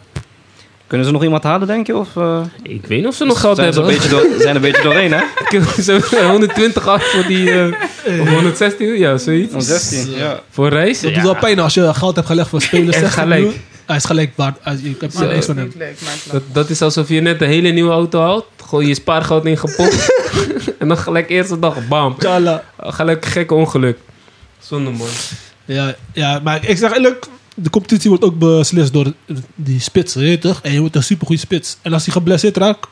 Speaker 2: Kunnen ze nog iemand halen, denk je? Of, eh,
Speaker 1: ik weet niet of ze nog geld
Speaker 2: zijn, ze
Speaker 1: hebben.
Speaker 2: een beetje door, zijn een beetje doorheen, hè?
Speaker 1: Ik heb zo'n 120 af voor die... eh, of 116, ja, zoiets.
Speaker 2: 16. Ja.
Speaker 1: Voor reis.
Speaker 3: Dat
Speaker 1: ja.
Speaker 3: doet wel pijn als je geld hebt gelegd voor spelers.
Speaker 1: En
Speaker 3: 60
Speaker 1: gelijk.
Speaker 3: miljoen. Hij is gelijk waard. Hij- Je hebt
Speaker 1: Maar
Speaker 3: niks van hem.
Speaker 4: Niet leuk, maar het
Speaker 1: Dat, dat is alsof je net een hele nieuwe auto houdt. Gooi je spaargeld in gepopt. en dan gelijk eerste dag, bam.
Speaker 3: Tjala.
Speaker 1: Gelijk gek ongeluk. Zonde man.
Speaker 3: Ja, ja, maar ik zeg eerlijk, de competitie wordt ook beslist door die spitsen, je weet toch? En je wordt een supergoeie spits. En als hij geblesseerd raakt,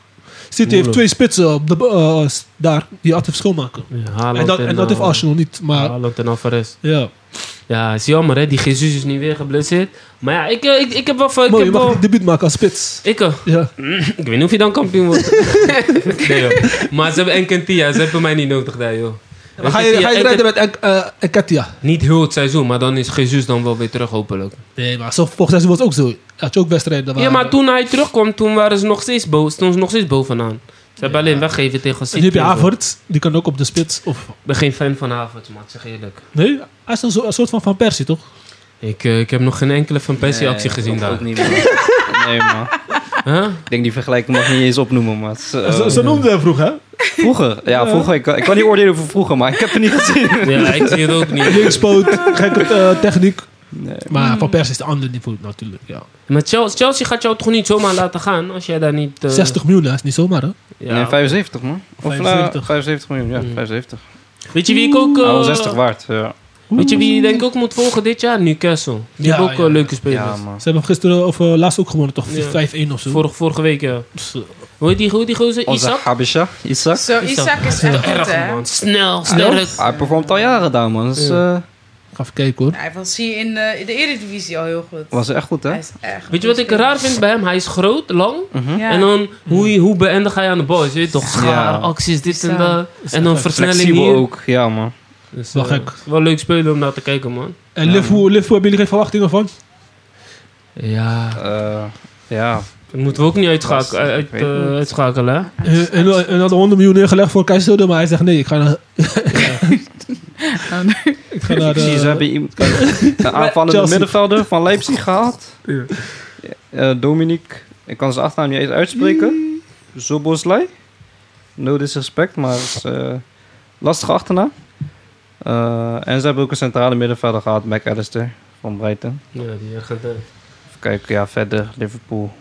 Speaker 3: City heeft
Speaker 1: Moeilijk.
Speaker 3: twee spitsen op de, eh, s- daar die altijd verschil maken.
Speaker 1: Haaland
Speaker 3: En dat, en dat
Speaker 1: eh,
Speaker 3: heeft Arsenal niet, maar
Speaker 1: Haaland en Alvarez.
Speaker 3: ja.
Speaker 1: Ja, is jammer hè. Die Jesus is nu weer geblesseerd. Maar ja, ik, eh, ik, ik heb wel... van- Ik,
Speaker 3: Mooi, je
Speaker 1: heb
Speaker 3: mag
Speaker 1: wel
Speaker 3: niet debuut maken als spits.
Speaker 1: ik, eh,
Speaker 3: Ja.
Speaker 1: ik weet niet of je dan kampioen wordt. nee, joh. Maar ze hebben Enkentia. Ze hebben mij niet nodig daar, joh.
Speaker 3: Maar ga je, ga je
Speaker 1: Enketia-
Speaker 3: rijden met Enk- eh, Enketia?
Speaker 1: Niet heel het seizoen, maar dan is Jesus dan wel weer terug, hopelijk.
Speaker 3: Nee, maar zo, volgens mij was het ook zo. Had je ook wedstrijden waar...
Speaker 1: Ja, maar toen hij terugkwam, toen waren ze nog steeds, bo stonden ze nog steeds bovenaan. Ze hebben alleen weggegeven tegen
Speaker 3: En nu
Speaker 1: City.
Speaker 3: heb je
Speaker 1: en zo.
Speaker 3: Havertz, die kan ook op de spits. Of,
Speaker 1: Ik ben geen fan van Havertz, man, zeg eerlijk.
Speaker 3: nee, hij is een, zo- een soort van Van Persie, toch?
Speaker 1: Ik, eh, ik heb nog geen enkele Van Persie-actie
Speaker 2: Nee,
Speaker 1: gezien
Speaker 2: dat
Speaker 1: daar.
Speaker 2: Ook niet, man. Nee, man.
Speaker 1: Huh?
Speaker 2: Ik denk die vergelijking mag je niet eens opnoemen, maar... het is, eh,
Speaker 3: Ze, ze noemden hem vroeger, hè?
Speaker 2: Vroeger. Ja, vroeger. Ik, kan- ik kan niet oordelen over vroeger, maar ik heb het niet gezien.
Speaker 1: Ja, ik zie het ook niet.
Speaker 3: Linkspoot, gekke eh, techniek.
Speaker 2: Nee.
Speaker 3: Maar Van Persie is de ander niveau natuurlijk. Ja.
Speaker 1: Maar Chelsea, Chelsea gaat jou toch niet zomaar laten gaan als jij daar niet... eh,
Speaker 3: 60 miljoen, dat is niet zomaar hè?
Speaker 1: ja.
Speaker 2: Nee, 75, man. Of, eh,
Speaker 3: 75.
Speaker 2: 75 miljoen, ja.
Speaker 1: Mm.
Speaker 2: 75.
Speaker 1: Weet je wie ik ook... eh,
Speaker 2: Nou, 60 waard, ja.
Speaker 1: weet je wie je denk ik ook moet volgen dit jaar? Newcastle. Die
Speaker 3: Ja,
Speaker 1: hebben ook eh,
Speaker 3: ja.
Speaker 1: leuke spelers.
Speaker 2: Ja, man.
Speaker 3: Ze hebben gisteren of eh, laatst ook gewonnen, toch?
Speaker 1: Ja.
Speaker 3: 5-1 of zo. Dus, eh,
Speaker 1: Vorige, vorige week, ja. Hoe heet die, hoe heet die gozer?
Speaker 2: Onze
Speaker 1: Isaac?
Speaker 2: Habisha, Isaac.
Speaker 4: Zo, Isaac is echt goed,
Speaker 1: Erg,
Speaker 4: hè?
Speaker 1: man. Snel,
Speaker 2: Ja,
Speaker 1: sterk.
Speaker 2: Hij performt al jaren daar, man. Dus,
Speaker 1: Ja.
Speaker 2: eh,
Speaker 3: Ik ga even kijken hoor.
Speaker 4: Hij was hier in de, in de Eredivisie al heel goed.
Speaker 2: was echt goed, hè?
Speaker 4: Hij is echt
Speaker 1: Weet je wat ik raar vind bij hem? Hij is groot, lang.
Speaker 2: Mhm.
Speaker 4: Ja.
Speaker 1: En dan, hoe, hoe beëindig hij aan de bal? is, Je weet toch, schaar,
Speaker 2: Ja.
Speaker 1: acties, dit en
Speaker 4: Zo.
Speaker 1: dat. En dan versnelling
Speaker 2: Flexibel
Speaker 1: hier.
Speaker 2: ook, ja, man.
Speaker 1: Dus,
Speaker 3: Wel
Speaker 1: eh,
Speaker 3: gek.
Speaker 1: Wel leuk spelen om naar te kijken, man.
Speaker 3: En Liverpool, Liverpool, hebben jullie geen verwachtingen van?
Speaker 1: Ja.
Speaker 2: Eh, ja,
Speaker 1: Dat moeten we ook niet
Speaker 2: Gast, ik
Speaker 1: uitschakelen, uit,
Speaker 2: weet
Speaker 1: eh, uitschakelen, hè?
Speaker 3: Eh, En, en, en hadden 100 miljoen neergelegd voor Keizer, maar hij zegt nee, ik ga naar... ik ga naar de-
Speaker 2: precies. We hebben iemand- een aanvallende
Speaker 3: eh, Chelsea.
Speaker 2: middenvelder van Leipzig gehaald.
Speaker 1: Ja.
Speaker 2: Eh, Dominique, ik kan zijn achternaam niet eens uitspreken. Zoboslai. No disrespect, maar het is eh, lastige achternaam. Eh, en ze hebben ook een centrale middenvelder gehad, McAllister van Brighton.
Speaker 1: Ja, die Argentijn.
Speaker 2: Even kijken, ja, verder Liverpool.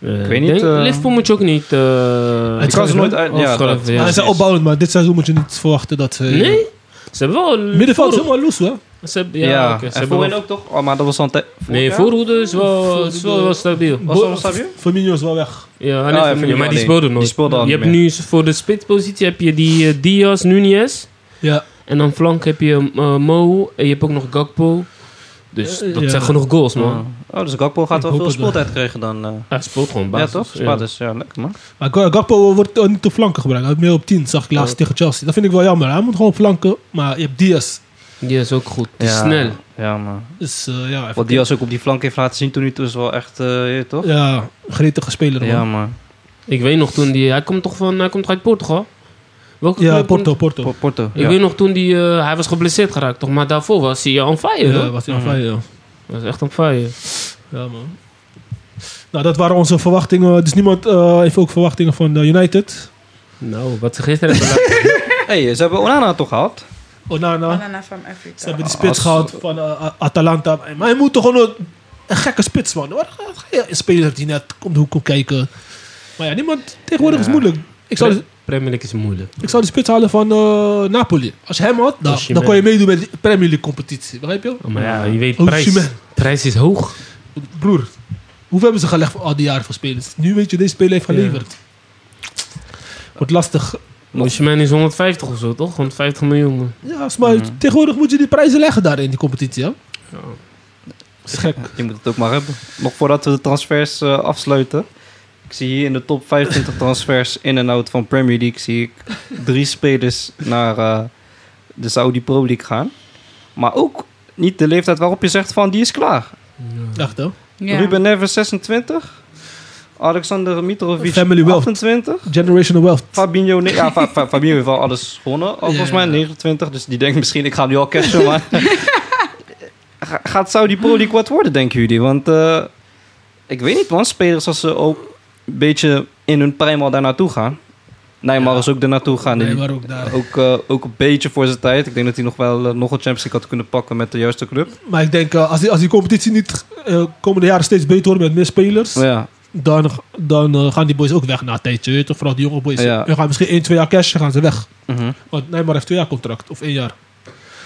Speaker 1: Eh,
Speaker 2: eh, Ik weet niet,
Speaker 1: denk-
Speaker 2: eh,
Speaker 1: Liverpool moet je ook niet... eh
Speaker 3: Het
Speaker 2: Ik kan ze nooit uit... Ja,
Speaker 1: afschrijven,
Speaker 2: dat-
Speaker 1: ja.
Speaker 3: Maar hij zei Ah, opbouwend, maar dit seizoen moet je niet verwachten dat... eh,
Speaker 1: Nee? Ze hebben wel...
Speaker 3: Middenveld is
Speaker 1: voor-
Speaker 3: helemaal loes, hè?
Speaker 1: Ze hebben,
Speaker 2: Ja,
Speaker 1: ja, oké, ze
Speaker 2: en
Speaker 1: hebben
Speaker 2: voorin
Speaker 1: wel...
Speaker 2: ook toch? Oh, maar dat was dan... te- vorig
Speaker 1: Nee,
Speaker 2: jaar?
Speaker 1: voorhoede is wel,
Speaker 3: Voorhoede-
Speaker 1: is wel, wel stabiel.
Speaker 2: Was dat wel
Speaker 3: Bo-
Speaker 2: stabiel?
Speaker 3: Firmino is wel weg.
Speaker 1: Ja,
Speaker 2: ja,
Speaker 1: nee,
Speaker 2: Firmino,
Speaker 1: maar die
Speaker 2: nee.
Speaker 1: speelde
Speaker 2: Die
Speaker 1: nooit.
Speaker 2: speelde al
Speaker 1: je
Speaker 2: niet
Speaker 1: hebt nu voor de spitspositie heb je die eh, Diaz, Nunez.
Speaker 3: Ja.
Speaker 1: En dan flank heb je eh, Mo. En je hebt ook nog Gakpo. Dus
Speaker 3: Eh,
Speaker 1: dat
Speaker 3: ja.
Speaker 1: zijn genoeg goals, man.
Speaker 2: Oh, dus Gakpo gaat
Speaker 3: Ik
Speaker 2: wel
Speaker 3: hoop
Speaker 2: veel
Speaker 3: het wel.
Speaker 2: speeltijd krijgen dan. eh.
Speaker 1: Hij speelt gewoon
Speaker 2: ja,
Speaker 1: basis.
Speaker 2: toch? Spaarders, ja. lekker man.
Speaker 3: Maar Ga- Gakpo wordt eh, niet op flanken gebruikt. Hij heeft meer op 10, zag ik laatst tegen Chelsea. Dat vind ik wel jammer. Hij moet gewoon op flanken. Maar je hebt Diaz.
Speaker 1: Die is ook goed. Die is
Speaker 2: Ja,
Speaker 1: snel.
Speaker 2: Ja, man.
Speaker 3: Dus eh, ja, even
Speaker 2: Wat die als ook op die flank heeft laten zien toen hij toen is wel echt, eh, je weet toch?
Speaker 3: Ja, gretige speler,
Speaker 2: Ja,
Speaker 3: man.
Speaker 2: man.
Speaker 1: Ik weet nog toen die... Hij komt toch van... Hij komt uit Portugal? Welke
Speaker 3: Ja,
Speaker 1: club komt-
Speaker 3: Porto, Porto.
Speaker 2: Po- Porto.
Speaker 1: Ik
Speaker 2: ja.
Speaker 1: weet nog toen die, eh, hij was geblesseerd geraakt, toch? Maar daarvoor was hij on fire,
Speaker 3: ja,
Speaker 1: hoor.
Speaker 3: was hij aan fijn, ja.
Speaker 1: Hij was echt on fire.
Speaker 3: Ja, man. Nou, dat waren onze verwachtingen. Dus niemand eh, heeft ook verwachtingen van eh, United.
Speaker 1: Nou, wat ze gisteren hebben laten...
Speaker 2: hey, ze hebben Onana toch gehad?
Speaker 3: Onana.
Speaker 4: Banana from
Speaker 3: Ze
Speaker 4: Africa.
Speaker 3: hebben die spits
Speaker 2: Als-
Speaker 3: gehad van eh, A- Atalanta. Maar hij moet toch gewoon een, een gekke spits, man. Waar ga- ga je- Een speler die net om de hoek komt kijken. Maar ja, niemand... Tegenwoordig is
Speaker 2: Ja.
Speaker 3: moeilijk. Ik zou,
Speaker 1: Premier League is moeilijk.
Speaker 3: ik zou die spits halen van eh, Napoli. Als je hem had, dan,
Speaker 1: Osimhen.
Speaker 3: dan kon je meedoen met de Premier League competitie. Begrijp je?
Speaker 1: Maar ja, je weet,
Speaker 3: Oh,
Speaker 1: prijs,
Speaker 3: Osimhen.
Speaker 1: prijs is hoog.
Speaker 3: Broer, hoeveel hebben ze gelegd voor al die jaren voor spelers? Nu weet je, deze speler heeft geleverd. Wordt lastig.
Speaker 1: Osimhen is 150 of zo, toch? 150 miljoen.
Speaker 3: Ja, is maar
Speaker 2: Mhm.
Speaker 3: tegenwoordig moet je die prijzen leggen daar in die competitie, hè?
Speaker 1: Ja.
Speaker 3: Is gek.
Speaker 2: Je moet het ook maar hebben. Nog voordat we de transfers eh, afsluiten. Ik zie hier in de top 25 transfers in en out van Premier League... zie ik drie spelers naar eh, de Saudi Pro League gaan. Maar ook niet de leeftijd waarop je zegt van die is klaar.
Speaker 3: Echt, hè?
Speaker 4: Ja.
Speaker 2: Ruben Neves 26. Alexander Mitrovic
Speaker 3: Family wealth.
Speaker 2: 28.
Speaker 3: Generational wealth.
Speaker 2: Fabinho, ne- ja, Fa- Fa- Fabinho heeft wel alles gewonnen, al volgens mij
Speaker 3: Ja.
Speaker 2: 29. Dus die denkt misschien, ik ga nu al cashen, maar... Ga- Gaat Saudi Pro League wat worden, denken jullie? Want eh, ik weet niet, man. Spelers als ze ook een beetje in hun prime al daar naartoe gaan. Neymar
Speaker 3: Ja.
Speaker 2: is ook daar naartoe gaan.
Speaker 3: Nee, maar ook daar.
Speaker 2: ook, eh, ook een beetje voor zijn tijd. Ik denk dat hij nog wel eh, nog een Champions League had kunnen pakken met de juiste club.
Speaker 3: Maar ik denk, eh, als, die, als die competitie niet eh, komende jaren steeds beter wordt met meer spelers,
Speaker 2: Maar ja,
Speaker 3: dan, dan eh, gaan die boys ook weg na een tijdje. Weet je, toch? vooral die jonge boys.
Speaker 2: Ja.
Speaker 3: Dan gaan misschien 1, 2 jaar cash, gaan ze weg.
Speaker 2: mhm.
Speaker 3: Want Neymar heeft twee jaar contract, of één jaar.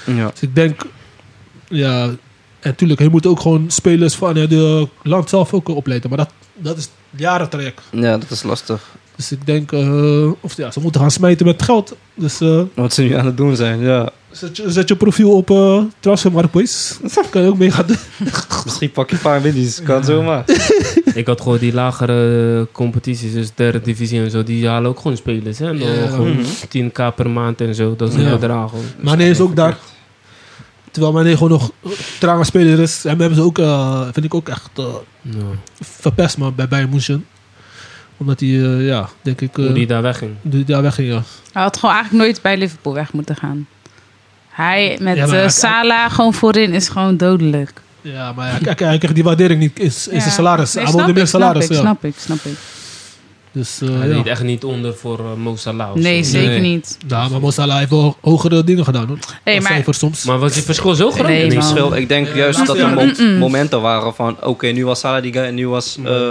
Speaker 2: ja.
Speaker 3: Dus ik denk, ja, en natuurlijk, je moet ook gewoon spelers van het land zelf ook eh, opleiden. Maar dat, dat is jaren traject.
Speaker 2: ja, dat is lastig.
Speaker 3: Dus ik denk, eh, of ja, ze moeten gaan smijten met geld. Dus eh,
Speaker 2: Wat ze nu aan het doen zijn, ja.
Speaker 3: zet, je, zet je profiel op eh Transfermarkt, boys. kan je ook mee gaan doen.
Speaker 2: Misschien pak je een paar middies. Kan zomaar.
Speaker 1: Ik had gewoon die lagere eh, competities, dus derde divisie en zo, die halen ook gewoon spelers. Hè? Dan
Speaker 3: Ja.
Speaker 1: Gewoon
Speaker 2: Mhm.
Speaker 1: 10k per maand en zo, dat is
Speaker 3: Ja.
Speaker 1: een bedrag. hoor.
Speaker 3: Mane is ook daar. Terwijl Mane gewoon nog trage speler is. Hem hebben ze ook, eh, vind ik ook echt eh,
Speaker 1: Ja.
Speaker 3: verpest man, bij Bayern München. Omdat hij, eh, ja, denk ik, eh,
Speaker 1: Hoe die daar wegging.
Speaker 3: die daar wegging. Ja.
Speaker 4: Hij had gewoon eigenlijk nooit bij Liverpool weg moeten gaan. Hij met
Speaker 3: Ja, maar
Speaker 4: eh,
Speaker 3: hij-
Speaker 4: Salah gewoon voorin is gewoon dodelijk.
Speaker 3: ja, maar hij, hij- hij kreeg die waardering niet. Is, is
Speaker 4: Ja.
Speaker 3: zijn salaris.
Speaker 4: Nee,
Speaker 3: hij
Speaker 4: snap
Speaker 3: wilde meer
Speaker 4: ik, snap
Speaker 3: salaris.
Speaker 4: ik,
Speaker 3: ja.
Speaker 4: Snap ik, snap
Speaker 1: Oh,
Speaker 4: ik.
Speaker 3: Dus, eh,
Speaker 1: Hij
Speaker 3: ja.
Speaker 1: deed echt niet onder voor eh, Mo Salah. of
Speaker 4: Nee,
Speaker 1: zo.
Speaker 4: zeker
Speaker 2: Nee.
Speaker 4: niet.
Speaker 3: Ja, Nou, maar Mo Salah heeft wel hogere dingen gedaan. Hoor.
Speaker 4: Hey,
Speaker 3: Als
Speaker 4: maar
Speaker 3: cijfer soms.
Speaker 1: Maar was die verschil zo groot?
Speaker 4: Nee,
Speaker 1: ineens?
Speaker 4: man.
Speaker 2: verschil. Ik denk
Speaker 3: Ja,
Speaker 2: juist dat er
Speaker 3: ja.
Speaker 2: mom- momenten waren van... Oké, nu was Salah die guy en nu was... eh,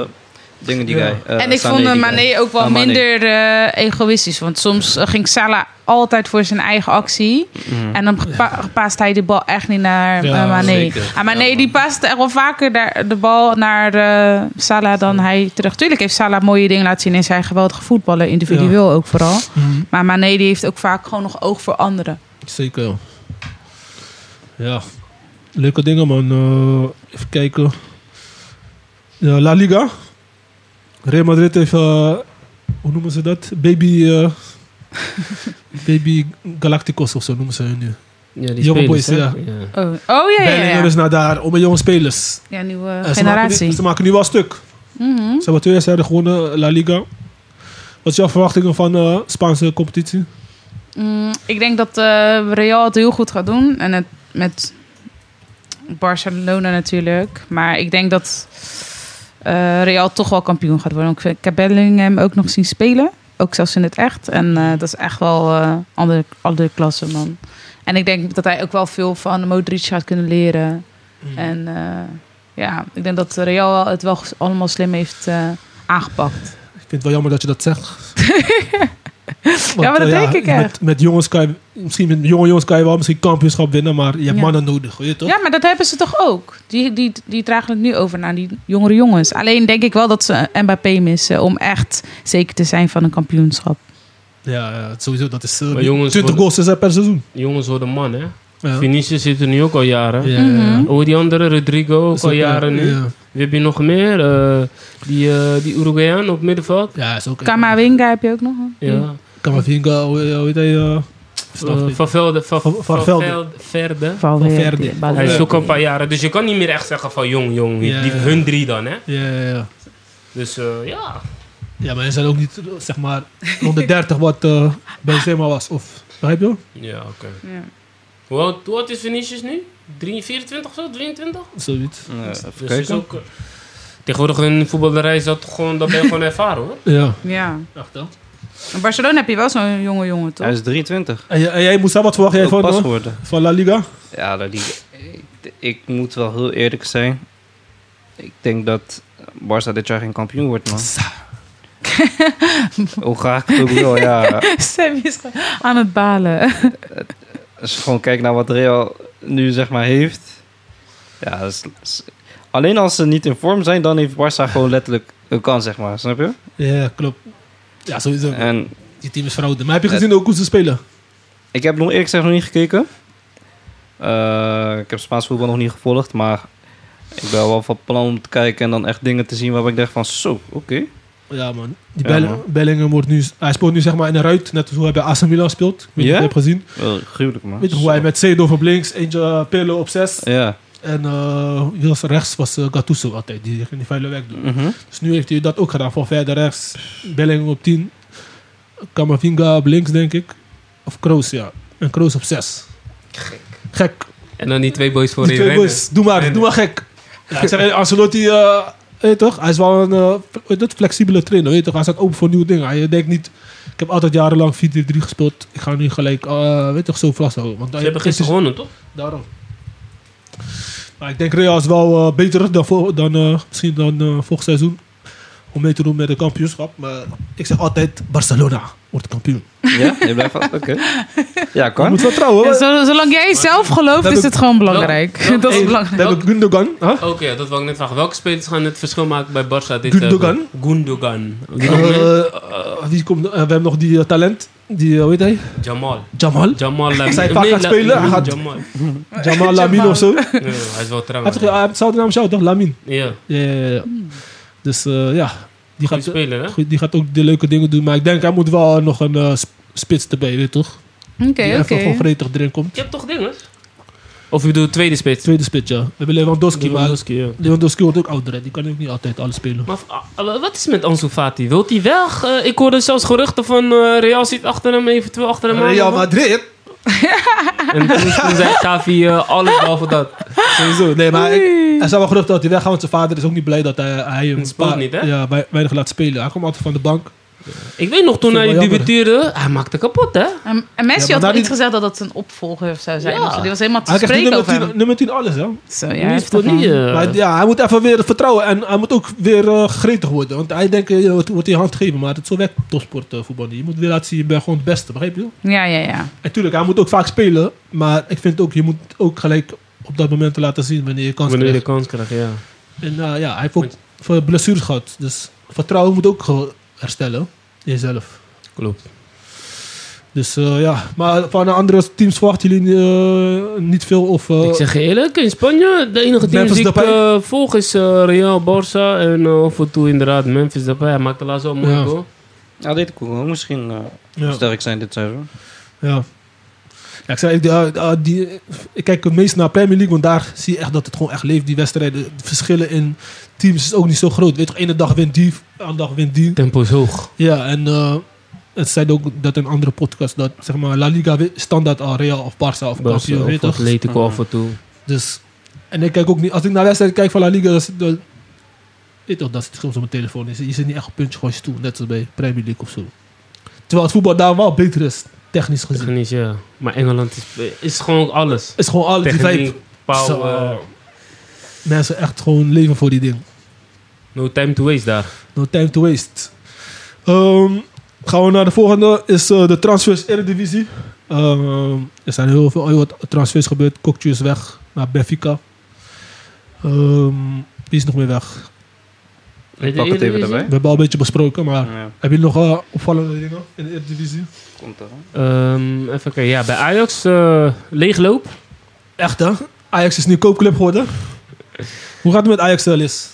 Speaker 2: dingen die guy. eh,
Speaker 4: en ik
Speaker 2: Sané
Speaker 4: vond
Speaker 2: die guy.
Speaker 4: Mané ook wel
Speaker 2: Ah, Mané.
Speaker 4: minder eh, egoïstisch. Want soms eh, ging Salah altijd voor zijn eigen actie.
Speaker 2: Mhm.
Speaker 4: En dan pa- paast hij de bal echt niet naar
Speaker 3: Ja,
Speaker 4: eh, Mané.
Speaker 2: zeker.
Speaker 4: En Mané
Speaker 2: Ja, man.
Speaker 4: die paast echt wel vaker daar, de bal naar eh, Salah dan hij terug. Tuurlijk heeft Salah mooie dingen laten zien in zijn geweldige voetballen. Individueel ook vooral.
Speaker 3: Mhm.
Speaker 4: Maar Mané die heeft ook vaak gewoon nog oog voor anderen.
Speaker 3: Zeker. ja. Ja. Leuke dingen, man. Eh, even kijken. Ja, La Liga. Real Madrid heeft... eh, hoe noemen ze dat? Baby... eh, Baby Galacticos of zo noemen ze hun nu.
Speaker 1: Ja, die
Speaker 3: Jonge
Speaker 1: spelers,
Speaker 3: boys,
Speaker 1: hè?
Speaker 3: ja.
Speaker 4: Oh, oh ja, ja,
Speaker 3: Bellingham
Speaker 4: ja.
Speaker 3: is naar daar, om een jonge spelers.
Speaker 4: Ja, nieuwe
Speaker 3: En ze, maken nu,
Speaker 4: generatie.
Speaker 3: ze maken nu wel stuk.
Speaker 4: Mhm.
Speaker 3: Ze hebben twee wedstrijden gewonnen, eh, La Liga. Wat is jouw verwachtingen van eh Spaanse competitie?
Speaker 4: Mm, ik denk dat eh, Real het heel goed gaat doen. En het met Barcelona natuurlijk. Maar ik denk dat eh, Real toch wel kampioen gaat worden. Ik, vind- ik heb Bellingham ook nog zien spelen. Ook zelfs in het echt. En eh, dat is echt wel eh andere, andere klasse, man. En ik denk dat hij ook wel veel van Modric gaat kunnen leren. En eh, ja, ik denk dat Real het wel allemaal slim heeft eh, aangepakt.
Speaker 3: Ik vind het wel jammer dat je dat zegt. Want,
Speaker 4: Ja, maar dat
Speaker 3: eh,
Speaker 4: denk ik echt.
Speaker 3: Met, met jongens kan je, misschien met jonge jongens kan je wel misschien kampioenschap winnen, maar je hebt
Speaker 4: Ja.
Speaker 3: mannen nodig, weet je toch?
Speaker 4: Ja, maar dat hebben ze toch ook? Die, die, die dragen het nu over naar die jongere jongens. Alleen denk ik wel dat ze Mbappé missen om echt zeker te zijn van een kampioenschap.
Speaker 3: Ja, ja, sowieso, dat is eh,
Speaker 1: Maar jongens
Speaker 3: 20
Speaker 1: worden-
Speaker 3: goals is er per seizoen.
Speaker 1: Jongens worden man, hè?
Speaker 3: Ja.
Speaker 1: Vinicius zit er nu ook al jaren.
Speaker 3: Ja,
Speaker 4: Mhm.
Speaker 3: ja, ja.
Speaker 1: Hoe die andere, Rodrigo, ook
Speaker 3: Is ook,
Speaker 1: al
Speaker 3: eh,
Speaker 1: jaren nu.
Speaker 3: Ja,
Speaker 1: Wie heb je nog meer? Eh, die, eh die Uruguayan op middenveld.
Speaker 3: ja is ook...
Speaker 4: Kamavinga heb je ook nog. hè?
Speaker 1: Ja.
Speaker 3: Kamavinga, hoe hoe heet hij? eh,
Speaker 1: Eh, Van Velde. Van,
Speaker 3: Van-
Speaker 1: van,
Speaker 3: van Velde.
Speaker 1: Velde. Verde.
Speaker 3: Valverde.
Speaker 1: Hij is
Speaker 3: Velde.
Speaker 1: ook een paar jaren. Dus je kan niet meer echt zeggen van jong, jong.
Speaker 3: Ja.
Speaker 1: Die, hun drie dan, hè.
Speaker 3: Ja, ja, ja.
Speaker 1: Dus eh, ja.
Speaker 3: Ja, maar hij zijn ook niet, zeg maar, 130 wat eh Benzema was. Of, begrijp je?
Speaker 1: Ja, oké.
Speaker 4: Ja.
Speaker 1: Hoe oud- hoe oud is Vinicius nu? 3, 24 of zo? 23?
Speaker 3: Zoiets.
Speaker 2: Eh, even
Speaker 1: Dus is
Speaker 2: kijken.
Speaker 1: ook, eh, tegenwoordig in voetballerij is dat gewoon, dat ben je gewoon ervaren hoor.
Speaker 3: Ja.
Speaker 4: ja.
Speaker 3: Echt dan.
Speaker 4: In Barcelona heb je wel zo'n jonge jongen, toch?
Speaker 2: Hij is 23.
Speaker 3: En, jij- en jij, Moussa, wat verwacht jij
Speaker 2: Ook
Speaker 3: van,
Speaker 2: pas
Speaker 3: eh,
Speaker 2: geworden.
Speaker 3: van La Liga?
Speaker 2: Ja, dat die, ik, ik moet wel heel eerlijk zijn. Ik denk dat Barça dit jaar geen kampioen wordt, man. Hoe graag ik het ook wil, ja.
Speaker 4: Sam is gewoon aan het balen.
Speaker 3: Oh.
Speaker 2: Als je gewoon kijkt naar wat Real nu zeg maar heeft. Ja, dat is- dat is- alleen als ze niet in vorm zijn, dan heeft Barça gewoon letterlijk een kans, zeg maar. Snap je?
Speaker 3: Ja, klopt. Ja, sowieso.
Speaker 2: En
Speaker 3: Die team is fraude. Maar heb je gezien ook hoe ze spelen?
Speaker 2: ik heb nog eerlijk gezegd nog niet gekeken. Eh, ik heb Spaans voetbal nog niet gevolgd, maar ik ben wel van plan om te kijken en dan echt dingen te zien waarvan ik denk van zo, oké.
Speaker 3: Ja, man. Die
Speaker 2: Ja,
Speaker 3: Belling-
Speaker 2: man.
Speaker 3: Bellingham wordt nu... Hij speelt nu zeg maar in de ruit. Net als hoe hij bij AC Milan speelt. Ik weet niet
Speaker 2: Ja?
Speaker 3: of je hebt gezien.
Speaker 2: Wel gruwelijk, man.
Speaker 3: Weet je hoe hij met Seedorf op links, eentje eh, Pirlo op zes.
Speaker 2: Ja.
Speaker 3: En eh, wie was er rechts was eh, Gattuso altijd. Die ging die vuile werk doen.
Speaker 2: Mhm.
Speaker 3: Dus nu heeft hij dat ook gedaan. Van verder rechts, Bellingham op 10. Kamavinga op links, denk ik. Of Kroos, ja. En Kroos op 6. Gek. Gek.
Speaker 1: En dan die twee boys voor
Speaker 3: Die
Speaker 1: je
Speaker 3: twee boys. Doe maar, doe maar gek. Ja, ik zeg, Ancelotti, eh, weet je toch? Hij is wel een eh, fle- weet je dat, flexibele trainer, weet je toch? Hij staat open voor nieuwe dingen. Hij denkt niet... Ik heb altijd jarenlang 4-3-3 gespeeld. Ik ga nu gelijk, eh, weet je toch, zo vast houden. Want
Speaker 1: Ze hebben gisteren gewonnen toch?
Speaker 3: Daarom. Maar ik denk Real is wel eh, beter dan, voor, dan eh, misschien dan eh, vorig seizoen. Om mee te doen met de kampioenschap. Maar ik zeg altijd, Barcelona wordt kampioen.
Speaker 2: Ja, je blijft vast. Oké. Ja,
Speaker 3: Je
Speaker 2: kan.
Speaker 3: moet vertrouwen.
Speaker 4: En
Speaker 3: hè?
Speaker 4: zo- zolang jij zelf gelooft,
Speaker 3: Dat
Speaker 4: is
Speaker 3: doe-
Speaker 4: het gewoon belangrijk.
Speaker 1: dat-
Speaker 4: Dat is
Speaker 1: hey,
Speaker 3: We
Speaker 4: belangrijk.
Speaker 3: hebben Gundogan. Huh?
Speaker 1: Oké, dat wou ik net vragen. Welke spelers gaan het verschil maken bij Barça dit
Speaker 3: Gundogan?
Speaker 1: eh, Gundogan. Wie nog meer?
Speaker 3: Eh, eh, wie komt, eh, we hebben nog die eh, talent. Die, eh, hoe heet hij?
Speaker 1: Jamal.
Speaker 3: Jamal.
Speaker 1: Jamal eh, Lamine.
Speaker 3: Als hij vaak gaat
Speaker 1: La-
Speaker 3: spelen, hij gaat-
Speaker 1: Jamal.
Speaker 3: Jamal Lamin of zo. Hij
Speaker 1: Nee, hij is wel trouw.
Speaker 3: heeft toch- hij heeft dezelfde naam als jou, toch? Lamin.
Speaker 1: Ja,
Speaker 3: Ja, ja, ja, ja. Dus eh, ja, die
Speaker 1: goed
Speaker 3: gaat, eh,
Speaker 1: speler hè?
Speaker 3: goed, die gaat ook de leuke dingen doen. Maar ik denk, hij moet wel nog een eh, sp- spits erbij, weet je toch?
Speaker 4: Oké,
Speaker 3: die even gewoon
Speaker 4: oké.
Speaker 3: gretig erin komt.
Speaker 1: Je hebt toch dingen? Of je bedoelt tweede spits?
Speaker 3: Tweede split, ja. We hebben Lewandowski, maar
Speaker 1: Lewandowski, ja.
Speaker 3: Lewandowski wordt ook ouder. hè. Die kan ook niet altijd alles spelen.
Speaker 1: Maar ah, wat is met Ansu Fati? Wilt hij weg? Eh, ik hoorde zelfs geruchten van eh, Real zit achter hem, eventueel achter hem aan.
Speaker 3: Madrid?
Speaker 1: En toen, toen zei Xavi eh, alles behalve dat.
Speaker 3: Sowieso. Nee, maar ik, er zijn wel geruchten dat hij weggaat. Want zijn vader is ook niet blij dat hij, hij hem
Speaker 1: Het speelt niet, hè?
Speaker 3: Ja, wei- weinig laat spelen. Hij komt altijd van de bank.
Speaker 1: Ik weet nog, toen
Speaker 3: Vind ik
Speaker 1: hij
Speaker 3: wel jammer.
Speaker 1: debuteerde, hij maakte kapot, hè?
Speaker 4: En Ehm, en
Speaker 3: Ja,
Speaker 4: Messi
Speaker 3: maar
Speaker 4: had
Speaker 3: daar
Speaker 4: wel iets
Speaker 3: die-
Speaker 4: gezegd dat dat een opvolger zou zijn.
Speaker 1: Ja.
Speaker 4: of zo. Die was helemaal te
Speaker 3: Hij krijgt nu
Speaker 4: spreken
Speaker 3: nummer
Speaker 4: over
Speaker 3: 10,
Speaker 4: hem.
Speaker 3: nummer 10 alles, hè?
Speaker 4: Zo, ja,
Speaker 1: Nu
Speaker 4: hij
Speaker 1: is het
Speaker 4: heeft
Speaker 1: toch
Speaker 4: ervan.
Speaker 1: niet... eh,
Speaker 3: Maar ja, hij moet even weer vertrouwen. En hij moet ook weer eh, gretig worden. Want hij denkt, eh, het wordt in je hand gegeven. Maar het zo werkt topsport eh, voetbal niet. Je moet weer laten zien, je bent gewoon het beste. Begrijp je?
Speaker 4: Ja, ja, ja.
Speaker 3: En tuurlijk, hij moet ook vaak spelen. Maar ik vind ook, je moet ook gelijk op dat moment laten zien wanneer je kans
Speaker 1: wanneer je de
Speaker 3: krijgt.
Speaker 1: kans krijgt, ja.
Speaker 3: En eh, ja, hij heeft ook veel blessures gehad. Dus vertrouwen moet ook gewoon herstellen. in Jezelf.
Speaker 1: Klopt.
Speaker 3: Dus eh, ja, maar van de andere teams verwachten jullie eh, niet veel. Of, eh,
Speaker 1: ik zeg je eerlijk, in Spanje, de enige team
Speaker 3: Memphis
Speaker 1: die ik
Speaker 3: Depay.
Speaker 1: eh, volg is eh, Real, Barça en eh, af en toe inderdaad Memphis Depay. Hij maakte laatst wel mooi
Speaker 3: Ja.
Speaker 1: goal.
Speaker 2: Ja, dit kon misschien eh,
Speaker 3: ja,
Speaker 2: sterk zijn dit seizoen.
Speaker 3: ja. Ja, ik, zei, eh, eh, die, ik kijk het meest naar Premier League, want daar zie je echt dat het gewoon echt leeft, die wedstrijden. De verschillen in teams is ook niet zo groot. Weet je, de ene dag wint die, de andere dag wint die.
Speaker 1: Tempo is hoog.
Speaker 3: Ja, en eh, het zei ook dat in een andere podcast dat zeg maar, La Liga wi- standaard al Real of Barca of
Speaker 1: Barça
Speaker 3: Barca
Speaker 1: of
Speaker 3: weet je toch?
Speaker 1: eh, Atletico
Speaker 2: Ja.
Speaker 1: af en toe.
Speaker 3: Dus, en ik kijk ook niet, als ik naar wedstrijden kijk van La Liga, dat, is- dat, weet toch, dat zit soms op mijn telefoon. Je zit, je zit niet echt op puntje gewoon stoel, net als bij Premier League of zo. Terwijl het voetbal daar wel beter is, technisch gezien.
Speaker 1: Technisch, ja. Maar Engeland is, is gewoon alles. eh,
Speaker 3: Het is gewoon alles, die
Speaker 1: Techniek,
Speaker 3: vibe.
Speaker 1: power,
Speaker 3: Zo. Mensen echt gewoon leven voor die ding.
Speaker 1: no time to waste daar.
Speaker 3: No time to waste. Ehm, gaan we naar de volgende. Is eh, de transfers Eredivisie. Ehm er zijn heel veel heel wat transfers gebeurd. Kokju is weg naar Benfica. Ehm, wie is nog meer weg?
Speaker 1: Weet je,
Speaker 2: pak het even
Speaker 1: Eredivisie?
Speaker 2: erbij.
Speaker 3: We hebben al een beetje besproken, maar
Speaker 2: Ja,
Speaker 3: hebben jullie nog eh, opvallende dingen in de Eredivisie?
Speaker 2: komt er.
Speaker 1: Ehm, even kijken, ja, bij Ajax eh, leegloop.
Speaker 3: Echt hè? Ajax is nu koopclub geworden. Hoe gaat het met Ajax, eh, Liz?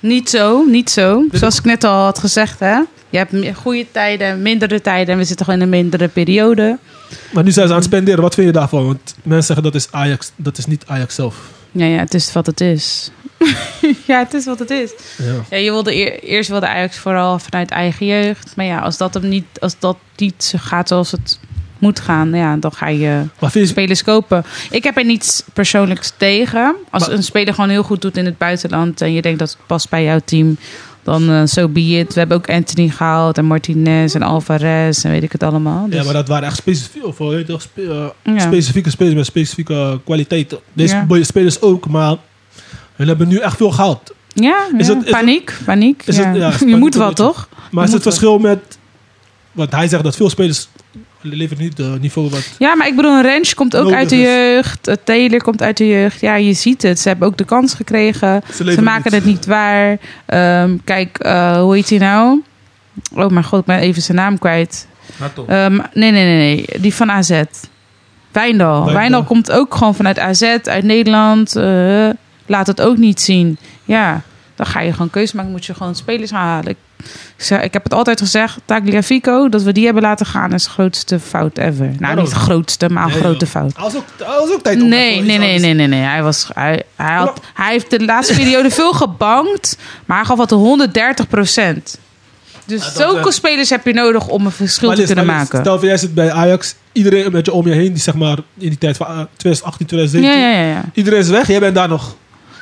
Speaker 4: Niet zo, niet zo. Zoals ik net al had gezegd, hè. Je hebt me- goede tijden, mindere tijden. En we zitten gewoon in een mindere periode.
Speaker 3: Maar nu zijn ze aan het spenderen. Wat vind je daarvan? Want mensen zeggen dat is Ajax, dat is niet Ajax zelf.
Speaker 4: Ja, ja, het is wat het is. ja, het is wat het is.
Speaker 3: Ja.
Speaker 4: Ja, je wilde eer- eerst wilde Ajax vooral vanuit eigen jeugd. Maar ja, als dat, hem niet, als dat niet zo gaat zoals het moet gaan, ja, dan ga je
Speaker 3: Maar vind je,
Speaker 4: spelers kopen. Ik heb er niets persoonlijks tegen. Als
Speaker 3: Maar-
Speaker 4: een speler gewoon heel goed doet in het buitenland en je denkt dat het past bij jouw team, dan zo so be it. We hebben ook Anthony gehaald en Martinez en Alvarez en weet ik het allemaal. Dus,
Speaker 3: ja, maar dat waren echt specifieke, of, weet je, toch, spe- eh,
Speaker 4: ja.
Speaker 3: specifieke spelers met specifieke kwaliteiten. Deze
Speaker 4: Ja.
Speaker 3: mooie spelers ook, maar hun hebben nu echt veel gehaald.
Speaker 4: Ja,
Speaker 3: Is
Speaker 4: ja.
Speaker 3: het- is het-
Speaker 4: paniek, paniek.
Speaker 3: is
Speaker 4: ja.
Speaker 3: het- ja, is
Speaker 4: je
Speaker 3: paniek
Speaker 4: moet
Speaker 3: een
Speaker 4: wat,
Speaker 3: beetje.
Speaker 4: toch?
Speaker 3: Maar is het
Speaker 4: Moet wel.
Speaker 3: verschil met... Want hij zegt dat veel spelers leveren niet het niveau wat...
Speaker 4: Ja, maar ik bedoel, een Rens komt ook
Speaker 3: Nodig
Speaker 4: uit de
Speaker 3: is.
Speaker 4: jeugd. eh, Taylor komt uit de jeugd. Ja, je ziet het. Ze hebben ook de kans gekregen.
Speaker 3: Ze,
Speaker 4: Ze
Speaker 3: leveren
Speaker 4: maken het niet waar. Ehm, kijk, eh, hoe heet hij nou? Oh mijn god, ik ben even zijn naam kwijt.
Speaker 1: Hato.
Speaker 4: Ehm, nee, nee, nee, nee. Die van AZ. Wijndal. Wijndal komt ook gewoon vanuit AZ, uit Nederland. Eh, laat het ook niet zien. Ja, dan ga je gewoon keuze maken. Moet je gewoon spelers halen. Ik, zeg- ik heb het altijd gezegd, Tagliafico, dat we die hebben laten gaan, is de grootste fout ever. Nou, niet de grootste, maar een
Speaker 3: Oh. Nee,
Speaker 4: grote
Speaker 3: joh.
Speaker 4: fout.
Speaker 3: Hij was ook, hij was ook tijd om
Speaker 4: Nee,
Speaker 3: even
Speaker 4: nee,
Speaker 3: iets
Speaker 4: nee,
Speaker 3: anders-
Speaker 4: nee, nee, nee. Hij, was, hij, hij, had, hij heeft de laatste periode veel gebankt, maar hij gaf wat 130 procent.
Speaker 3: Ja, dat,
Speaker 4: Dus zulke
Speaker 3: eh,
Speaker 4: spelers heb je nodig om een verschil
Speaker 3: Maar
Speaker 4: te
Speaker 3: Liz,
Speaker 4: kunnen
Speaker 3: maar Liz,
Speaker 4: maken.
Speaker 3: Stel voor jij zit bij Ajax, iedereen een beetje om je heen, die zeg maar in die tijd van eh, 2018,
Speaker 4: Ja,
Speaker 3: 2017,
Speaker 4: ja, ja, ja.
Speaker 3: iedereen is weg, jij bent daar nog.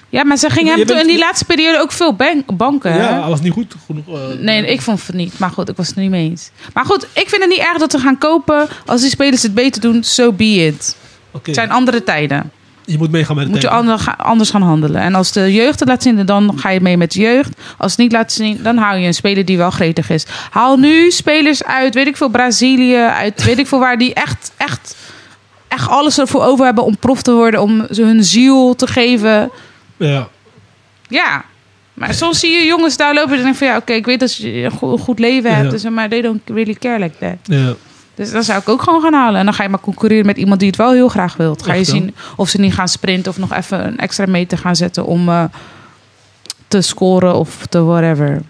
Speaker 4: ja, maar ze gingen
Speaker 3: Je
Speaker 4: hem toen
Speaker 3: bent-
Speaker 4: in die laatste periode ook veel bank- banken. hè?
Speaker 3: Ja, hij was niet goed genoeg. eh,
Speaker 4: Nee, ik vond het niet. Maar goed, ik was het er niet mee eens. Maar goed, ik vind het niet erg dat we gaan kopen. Als die spelers het beter doen, so be it.
Speaker 3: oké.
Speaker 4: Het zijn andere tijden.
Speaker 3: Je moet meegaan met de
Speaker 4: Moet je
Speaker 3: tijd.
Speaker 4: ander- ga- anders gaan handelen. En als de jeugd het laat zien, dan ga je mee met de jeugd. Als het niet laat zien, dan hou je een speler die wel gretig is. Haal nu spelers uit, weet ik veel, Brazilië, uit weet ik veel waar, die echt, echt, echt alles ervoor over hebben om prof te worden, om ze hun ziel te geven.
Speaker 3: Ja.
Speaker 4: Ja. Maar soms zie je jongens daar lopen en denk ik van ja, oké, ik weet dat je een go- een goed leven hebt,
Speaker 3: Ja.
Speaker 4: dus, maar they don't really care like that.
Speaker 3: ja.
Speaker 4: Dus dan zou ik ook gewoon gaan halen. En dan ga je maar concurreren met iemand die het wel heel graag wil. Dan Ga je
Speaker 3: Echt, hè?
Speaker 4: zien of ze niet gaan sprinten of nog even een extra meter gaan zetten om eh, te scoren of te whatever.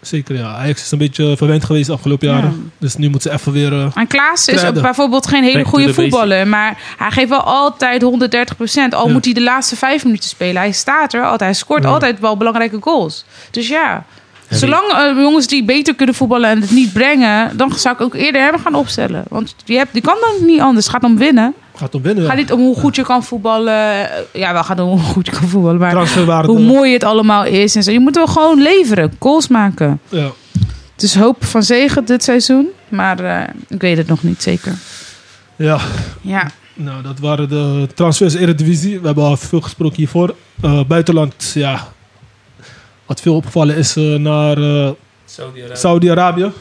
Speaker 3: Zeker, ja. Ajax is een beetje eh, verwend geweest de afgelopen
Speaker 4: Ja.
Speaker 3: jaren. Dus nu moeten ze even weer... eh,
Speaker 4: En Klaas is
Speaker 3: Treden.
Speaker 4: ook bijvoorbeeld geen hele
Speaker 1: Back to
Speaker 4: goede
Speaker 1: the basics.
Speaker 4: voetballer. Maar hij geeft wel altijd 130 Al
Speaker 3: Ja.
Speaker 4: moet hij de laatste vijf minuten spelen. Hij staat er altijd. Hij scoort
Speaker 3: Ja.
Speaker 4: altijd wel belangrijke goals. Dus ja,
Speaker 1: wie-
Speaker 4: zolang eh, jongens die beter kunnen voetballen en het niet brengen... dan zou ik ook eerder hem gaan opstellen. Want je, hebt, je kan dan niet anders. Het gaat om winnen.
Speaker 3: gaat om winnen.
Speaker 4: Het
Speaker 3: ja.
Speaker 4: gaat niet om hoe goed je kan voetballen. Ja, wel gaat om hoe goed je kan voetballen. Maar
Speaker 3: Transferwaarde.
Speaker 4: hoe mooi het allemaal is. En zo. Je moet wel gewoon leveren. Goals maken.
Speaker 3: Ja.
Speaker 4: Het is hoop van zegen dit seizoen. Maar eh, ik weet het nog niet zeker.
Speaker 3: ja.
Speaker 4: Ja.
Speaker 3: Nou, dat waren de transfers Eredivisie. We hebben al veel gesproken hiervoor. Eh, buitenland, ja. Wat veel opgevallen is eh, naar eh,
Speaker 1: Saudi-Arabië.
Speaker 3: Saudi-Arabië.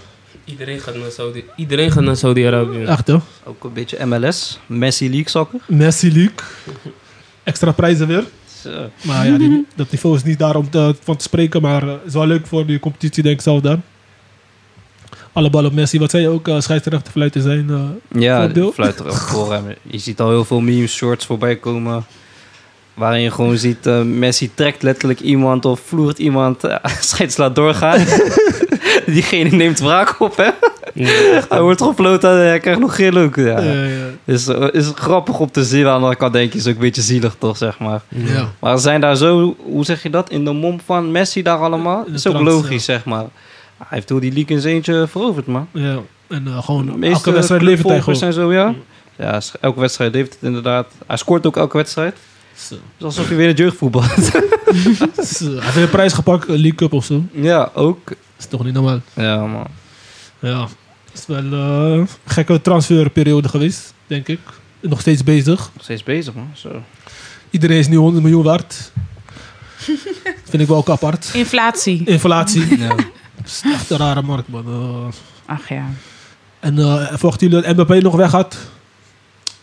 Speaker 1: Iedereen gaat naar Saudi- Iedereen gaat naar Saudi-Arabië.
Speaker 3: Echt, hè?
Speaker 2: Ook een beetje MLS, Messi League Soccer.
Speaker 3: Messi, Luke. Extra prijzen weer.
Speaker 2: Zo.
Speaker 3: Maar ja, die- dat niveau is niet daar om te- van te spreken. Maar het is wel leuk voor de competitie, denk ik zelf dan. Alle ballen op Messi. Wat zei je ook? eh scheidsrechter fluiten zijn. eh,
Speaker 2: Ja,
Speaker 3: Voordeel.
Speaker 2: fluiter ook voor hem. Je ziet al heel veel memes, shorts voorbij komen. Waarin je gewoon ziet, eh, Messi trekt letterlijk iemand of vloert iemand. eh, scheids laat doorgaan. Diegene neemt wraak op, hè.
Speaker 1: Ja.
Speaker 2: Hij wordt gefloten en hij krijgt nog geen ook. Ja.
Speaker 3: eh,
Speaker 2: Is, is grappig op te zien. Aan de andere kant denk je, is ook een beetje zielig toch, zeg maar.
Speaker 1: Mm.
Speaker 3: ja.
Speaker 2: Maar ze zijn daar zo, hoe zeg je dat, in de mom van Messi daar allemaal?
Speaker 3: De
Speaker 2: Dat is ook
Speaker 3: trans,
Speaker 2: logisch, zeg maar. Hij heeft heel die league in zijn eentje veroverd, man.
Speaker 3: Ja, en eh,
Speaker 2: De
Speaker 3: gewoon
Speaker 2: meeste
Speaker 3: elke wedstrijd levert hij
Speaker 2: volgers
Speaker 3: gewoon.
Speaker 2: en zo, ja. Ja, sch- elke wedstrijd levert het inderdaad. Hij scoort ook elke wedstrijd. Dus alsof je weer in het jeugdvoetbal had.
Speaker 3: Zo, Hij heeft een prijs gepakt, eh, League Cup of zo.
Speaker 2: ja, ook.
Speaker 3: is toch niet normaal.
Speaker 2: Ja, man.
Speaker 3: Ja, het is wel eh, een gekke transferperiode geweest, denk ik. Nog steeds bezig.
Speaker 2: Nog steeds bezig, man. Zo.
Speaker 3: Iedereen is nu 100 miljoen waard. Vind ik wel ook apart.
Speaker 4: Inflatie.
Speaker 3: Inflatie.
Speaker 2: Ja.
Speaker 3: Het is echt een rare markt, man. Eh,
Speaker 4: Ach ja.
Speaker 3: en eh volgt jullie dat Mbappé nog weg had?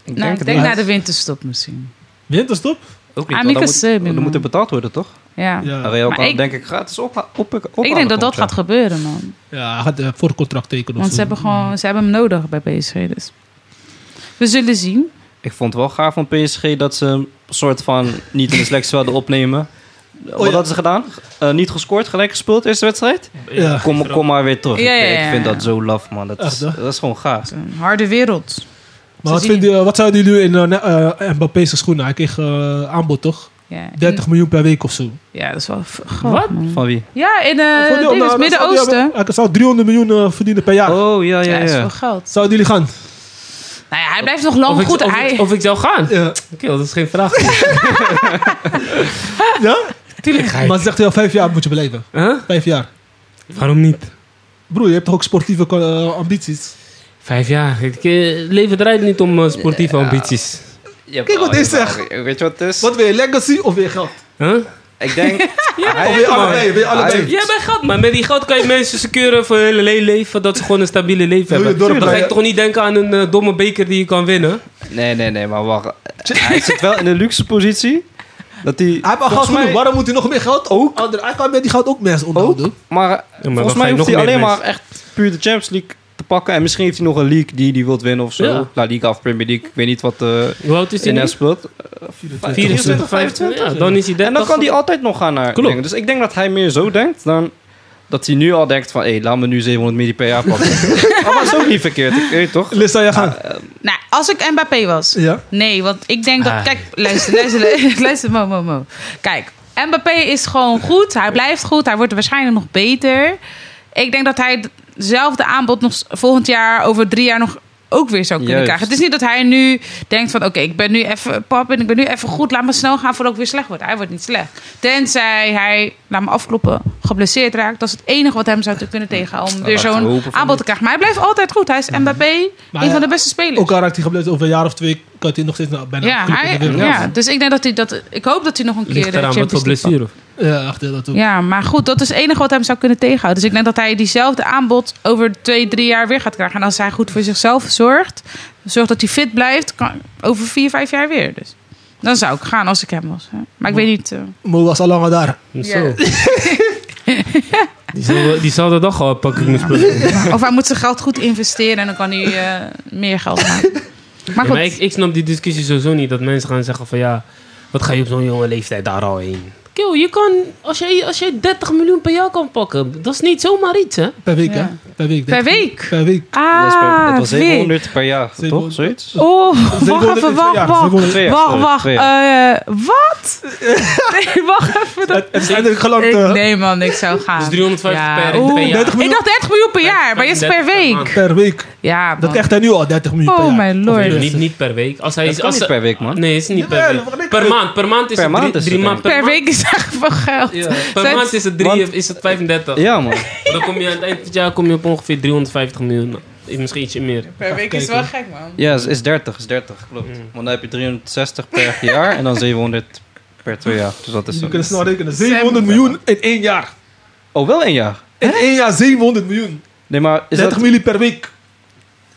Speaker 2: Ik
Speaker 4: Nou, ik
Speaker 2: het
Speaker 4: denk
Speaker 2: niet.
Speaker 4: na de winterstop misschien.
Speaker 3: Winterstop?
Speaker 2: Ook niet,
Speaker 4: Ah,
Speaker 2: want dan
Speaker 4: Mieke
Speaker 2: moet,
Speaker 4: Seubing,
Speaker 2: dan
Speaker 4: man.
Speaker 2: moet er betaald worden, toch?
Speaker 4: Ja.
Speaker 3: Ja, ja.
Speaker 2: Real
Speaker 4: Maar
Speaker 2: kan
Speaker 4: ik-
Speaker 2: denk ik gratis op, op,
Speaker 4: Ik denk dat dat gaat gebeuren, man.
Speaker 3: hij gaat eh, voor contract tekenen.
Speaker 4: Want ze hebben, gewoon, ze hebben hem nodig bij PSG. Dus we zullen zien.
Speaker 2: Ik vond het wel gaaf van PSG dat ze een soort van niet in de selectie wilden opnemen.
Speaker 3: Oh,
Speaker 2: Wat hadden ze gedaan? Eh, niet gescoord, gelijk gespeeld, eerste wedstrijd.
Speaker 1: Eh,
Speaker 3: Ja.
Speaker 2: Kom, kom maar weer terug.
Speaker 4: Ja, ja,
Speaker 2: Ik-
Speaker 4: ja,
Speaker 2: Ik vind
Speaker 4: ja.
Speaker 2: dat zo laf, man. Dat is,
Speaker 3: Echt, hè?
Speaker 2: dat is gewoon gaaf.
Speaker 4: Een harde wereld.
Speaker 3: Maar wat,
Speaker 4: Ze
Speaker 3: vind je, wat zouden jullie in eh, ne- eh, Mbappé's schoenen? Hij kreeg eh, aanbod toch?
Speaker 4: Ja, in-
Speaker 3: 30 miljoen per week of zo.
Speaker 4: Ja, dat is wel... v- goh,
Speaker 1: Wat?
Speaker 4: man.
Speaker 2: Van wie?
Speaker 4: Ja, in eh,
Speaker 3: Voor die-
Speaker 4: ding is
Speaker 3: nou,
Speaker 4: Midden-Oosten.
Speaker 3: Saudi-Arabië- Hij zou 300 miljoen eh, verdienen per jaar.
Speaker 2: Oh, ja,
Speaker 4: Ja,
Speaker 2: ja,
Speaker 4: dat is veel
Speaker 2: ja.
Speaker 4: geld.
Speaker 3: Zouden jullie gaan?
Speaker 4: Nou ja, hij blijft nog lang
Speaker 1: of,
Speaker 4: goed.
Speaker 1: ik, of,
Speaker 4: hij,
Speaker 1: ik, of ik zou gaan?
Speaker 3: Ja.
Speaker 1: Oké, dat is geen vraag.
Speaker 3: ja?
Speaker 1: Tuurlijk ga
Speaker 3: Maar ze zegt wel, vijf jaar moet je beleven. Vijf jaar.
Speaker 1: Waarom niet?
Speaker 3: Broer, je hebt toch ook sportieve eh, ambities?
Speaker 1: Vijf jaar. Het eh, leven draait niet om eh, sportieve ambities.
Speaker 3: Kijk wat deze zegt.
Speaker 2: Weet je wat het is?
Speaker 3: Wat wil je, legacy of wil je geld?
Speaker 1: Huh?
Speaker 2: Ik denk... hij-
Speaker 3: Of wil je allebei? Wil je
Speaker 2: Hij-
Speaker 3: allebei?
Speaker 1: Jij bent geld, maar met die geld kan je mensen securen voor hun hele le- leven. Dat ze gewoon een stabiele leven
Speaker 3: Wil je
Speaker 1: hebben.
Speaker 3: dorp
Speaker 1: Dan ga ik
Speaker 3: blijven?
Speaker 1: toch niet denken aan een eh, domme beker die je kan winnen.
Speaker 2: Nee, nee, nee, maar wacht. Hij zit wel in een luxe positie. Dat hij...
Speaker 1: Ah.
Speaker 3: Hij heeft al geld
Speaker 2: volgens
Speaker 3: genoeg.
Speaker 2: mij-
Speaker 3: Waarom moet hij nog meer geld? Ook. Andere, hij kan met die geld ook mensen onderhouden.
Speaker 2: Maar,
Speaker 1: dan
Speaker 2: volgens
Speaker 1: ga je
Speaker 2: mij
Speaker 1: nog
Speaker 2: hoeft hij
Speaker 1: meer
Speaker 2: alleen
Speaker 1: mensen.
Speaker 2: maar echt puur de Champions League te pakken. En misschien heeft hij nog een league die hij wilt winnen of zo.
Speaker 1: Ja.
Speaker 2: La Liga of Premier League. Ik weet niet wat eh, de
Speaker 1: Hoe oud is hij nu?
Speaker 2: NS speelt.
Speaker 1: 24, 25? Ja, dan is hij 30.
Speaker 2: En dan kan hij altijd nog gaan naar
Speaker 1: Klopt.
Speaker 2: dingen. Dus ik denk dat hij meer zo denkt dan dat hij nu al denkt van... Hé, laat me nu 700 miljoen per jaar pakken. maar dat is ook niet verkeerd, ik weet toch?
Speaker 3: Lis, zou jij gaan?
Speaker 4: Nou, als ik Mbappé was.
Speaker 3: Ja.
Speaker 4: Nee, want ik denk dat...
Speaker 1: Ah.
Speaker 4: Kijk, luister, luister, luister, mo, mo, mo. Kijk, Mbappé is gewoon goed. Hij blijft goed. Hij wordt waarschijnlijk nog beter. Ik denk dat hij hetzelfde aanbod nog s- volgend jaar, over drie jaar nog ook weer zou kunnen
Speaker 2: Juist.
Speaker 4: krijgen. Het is niet dat hij nu denkt van... oké, ik ben nu even pap en ik ben nu even goed. Laat me snel gaan voordat ik weer slecht word. Hij wordt niet slecht. Tenzij hij, laat me afkloppen, geblesseerd raakt. Dat is het enige wat hem zou te kunnen tegenhouden... om weer
Speaker 2: laten we
Speaker 4: zo'n
Speaker 2: hopen van
Speaker 4: aanbod te krijgen. Maar hij blijft altijd goed. Hij is Mbappé,
Speaker 3: Maar
Speaker 4: een
Speaker 3: ja,
Speaker 4: van de beste spelers.
Speaker 3: Ook al raakt hij gebleven over een jaar of twee, kan hij nog steeds nou, bijna
Speaker 4: Ja,
Speaker 3: club in
Speaker 4: hij-
Speaker 3: de wereld.
Speaker 4: ja, dus ik denk dat hij dat. Ik hoop dat hij nog een keer
Speaker 1: Ligt
Speaker 4: de
Speaker 1: eraan wat voor
Speaker 4: Champions League.
Speaker 1: blessure.
Speaker 3: Ja, echt, ja, dat ook.
Speaker 4: pakt. Ja, maar goed, dat is het enige wat hem zou kunnen tegenhouden. Dus ik denk dat hij diezelfde aanbod over twee, drie jaar weer gaat krijgen. En als hij goed voor zichzelf zorgt, zorgt dat hij fit blijft, kan, over vier, vijf jaar weer. Dus dan zou ik gaan als ik hem was. Hè. Maar ik weet niet. eh,
Speaker 3: Mo was al lang al daar.
Speaker 1: Zo. Die zal- Diezelfde dag al pak ik mijn spullen.
Speaker 4: of hij moet zijn geld goed investeren en dan kan hij eh, meer geld maken. Maar
Speaker 1: Ja,
Speaker 4: goed,
Speaker 1: maar ik, ik snap die discussie sowieso niet. Dat mensen gaan zeggen van ja, wat ga je op zo'n jonge leeftijd daar al heen? Kill, je kan, als jij, als jij 30 miljoen per jaar kan pakken, dat is niet zomaar iets hè?
Speaker 3: Per week,
Speaker 4: Ja.
Speaker 3: hè? Per week.
Speaker 4: per
Speaker 3: denk ik.
Speaker 4: week.
Speaker 3: Per week.
Speaker 2: Dat is per-
Speaker 4: Ah,
Speaker 2: dat was
Speaker 4: week.
Speaker 2: 700 per jaar, toch?
Speaker 3: 700.
Speaker 2: Zoiets?
Speaker 4: Oh, wacht
Speaker 3: 700
Speaker 4: even,
Speaker 3: in twee
Speaker 4: wacht,
Speaker 3: jaar,
Speaker 4: wacht.
Speaker 3: 700.
Speaker 2: Twee jaar,
Speaker 4: Wacht,
Speaker 2: sorry,
Speaker 4: wacht.
Speaker 2: twee
Speaker 4: eh, wat? nee, wacht even. dat-
Speaker 3: Het het is eindelijk geland.
Speaker 4: Ik,
Speaker 3: eh,
Speaker 4: nee, man, ik zou gaan.
Speaker 1: Dus 350 per-
Speaker 4: Ah, oeh.
Speaker 1: per jaar.
Speaker 3: 30
Speaker 4: Ik
Speaker 3: miljoen
Speaker 4: dacht 30 miljoen per jaar, maar is per
Speaker 1: 35 per maand.
Speaker 4: week.
Speaker 3: per week.
Speaker 4: Ja, man.
Speaker 3: Dat krijgt hij nu al, 30 miljoen per
Speaker 4: Oh,
Speaker 3: jaar.
Speaker 4: mijn lord.
Speaker 3: Of
Speaker 1: Niet, niet per week. Als hij,
Speaker 2: Dat kan
Speaker 1: als,
Speaker 2: niet per week, man.
Speaker 1: Nee, is niet per
Speaker 3: Jawel, wat
Speaker 1: week.
Speaker 3: ik-
Speaker 1: Per maand, per maand is
Speaker 2: Per
Speaker 1: het
Speaker 2: maand
Speaker 1: drie,
Speaker 2: is het,
Speaker 1: drie
Speaker 2: denk
Speaker 1: maand
Speaker 2: ik.
Speaker 4: per week is echt veel geld.
Speaker 1: Ja, per
Speaker 4: Zijn-
Speaker 1: maand is het, drie,
Speaker 2: Want-
Speaker 1: is het 35.
Speaker 2: Ja, man.
Speaker 1: Dan kom je aan het eind van het jaar kom je op ongeveer 350 miljoen. Nou, Misschien ietsje meer.
Speaker 4: Per week is
Speaker 3: kijken.
Speaker 4: wel gek, man.
Speaker 2: Ja, is, is 30, is 30,
Speaker 3: Mm.
Speaker 2: klopt. Want dan heb je 360 per jaar en dan 700 per twee jaar. Dus dat is
Speaker 3: Je kunt
Speaker 2: zo.
Speaker 3: snel rekenen. 700 miljoen in één jaar.
Speaker 2: Oh, wel één jaar?
Speaker 3: In één jaar 700 miljoen.
Speaker 2: Nee, maar is
Speaker 3: 30
Speaker 2: dat...
Speaker 3: miljoen per week.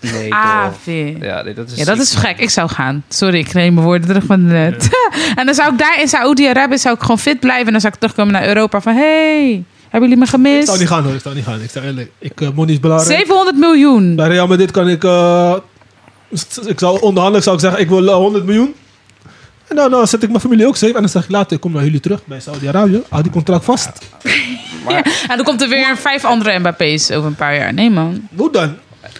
Speaker 2: Nee,
Speaker 4: Ah,
Speaker 2: toch.
Speaker 4: vind.
Speaker 2: eh, Ja, nee, dat is...
Speaker 4: Ja, dat
Speaker 2: ziek.
Speaker 4: is gek. Ik zou gaan. Sorry, ik neem mijn woorden terug van net. en dan zou ik daar in Saoedi-Arabië zou ik gewoon fit blijven. En dan zou ik terugkomen naar Europa van... hey, hebben jullie me
Speaker 3: Ik zou niet
Speaker 4: gemist?
Speaker 3: gaan hoor, ik zou niet gaan. Ik zou eerlijk. Ik, eh, money is belangrijk.
Speaker 4: 700 miljoen.
Speaker 3: Bij Real Madrid kan ik... eh, s- ik zou onderhandelen, zou ik zeggen, ik wil eh, 100 miljoen. En dan eh, zet ik mijn familie ook safe. En dan zeg ik later, ik kom naar jullie terug bij Saudi-Arabië. Hou die contract vast.
Speaker 4: En dan komt er weer vijf andere Mbappé's over een paar jaar. Nee, man.
Speaker 3: Hoe dan?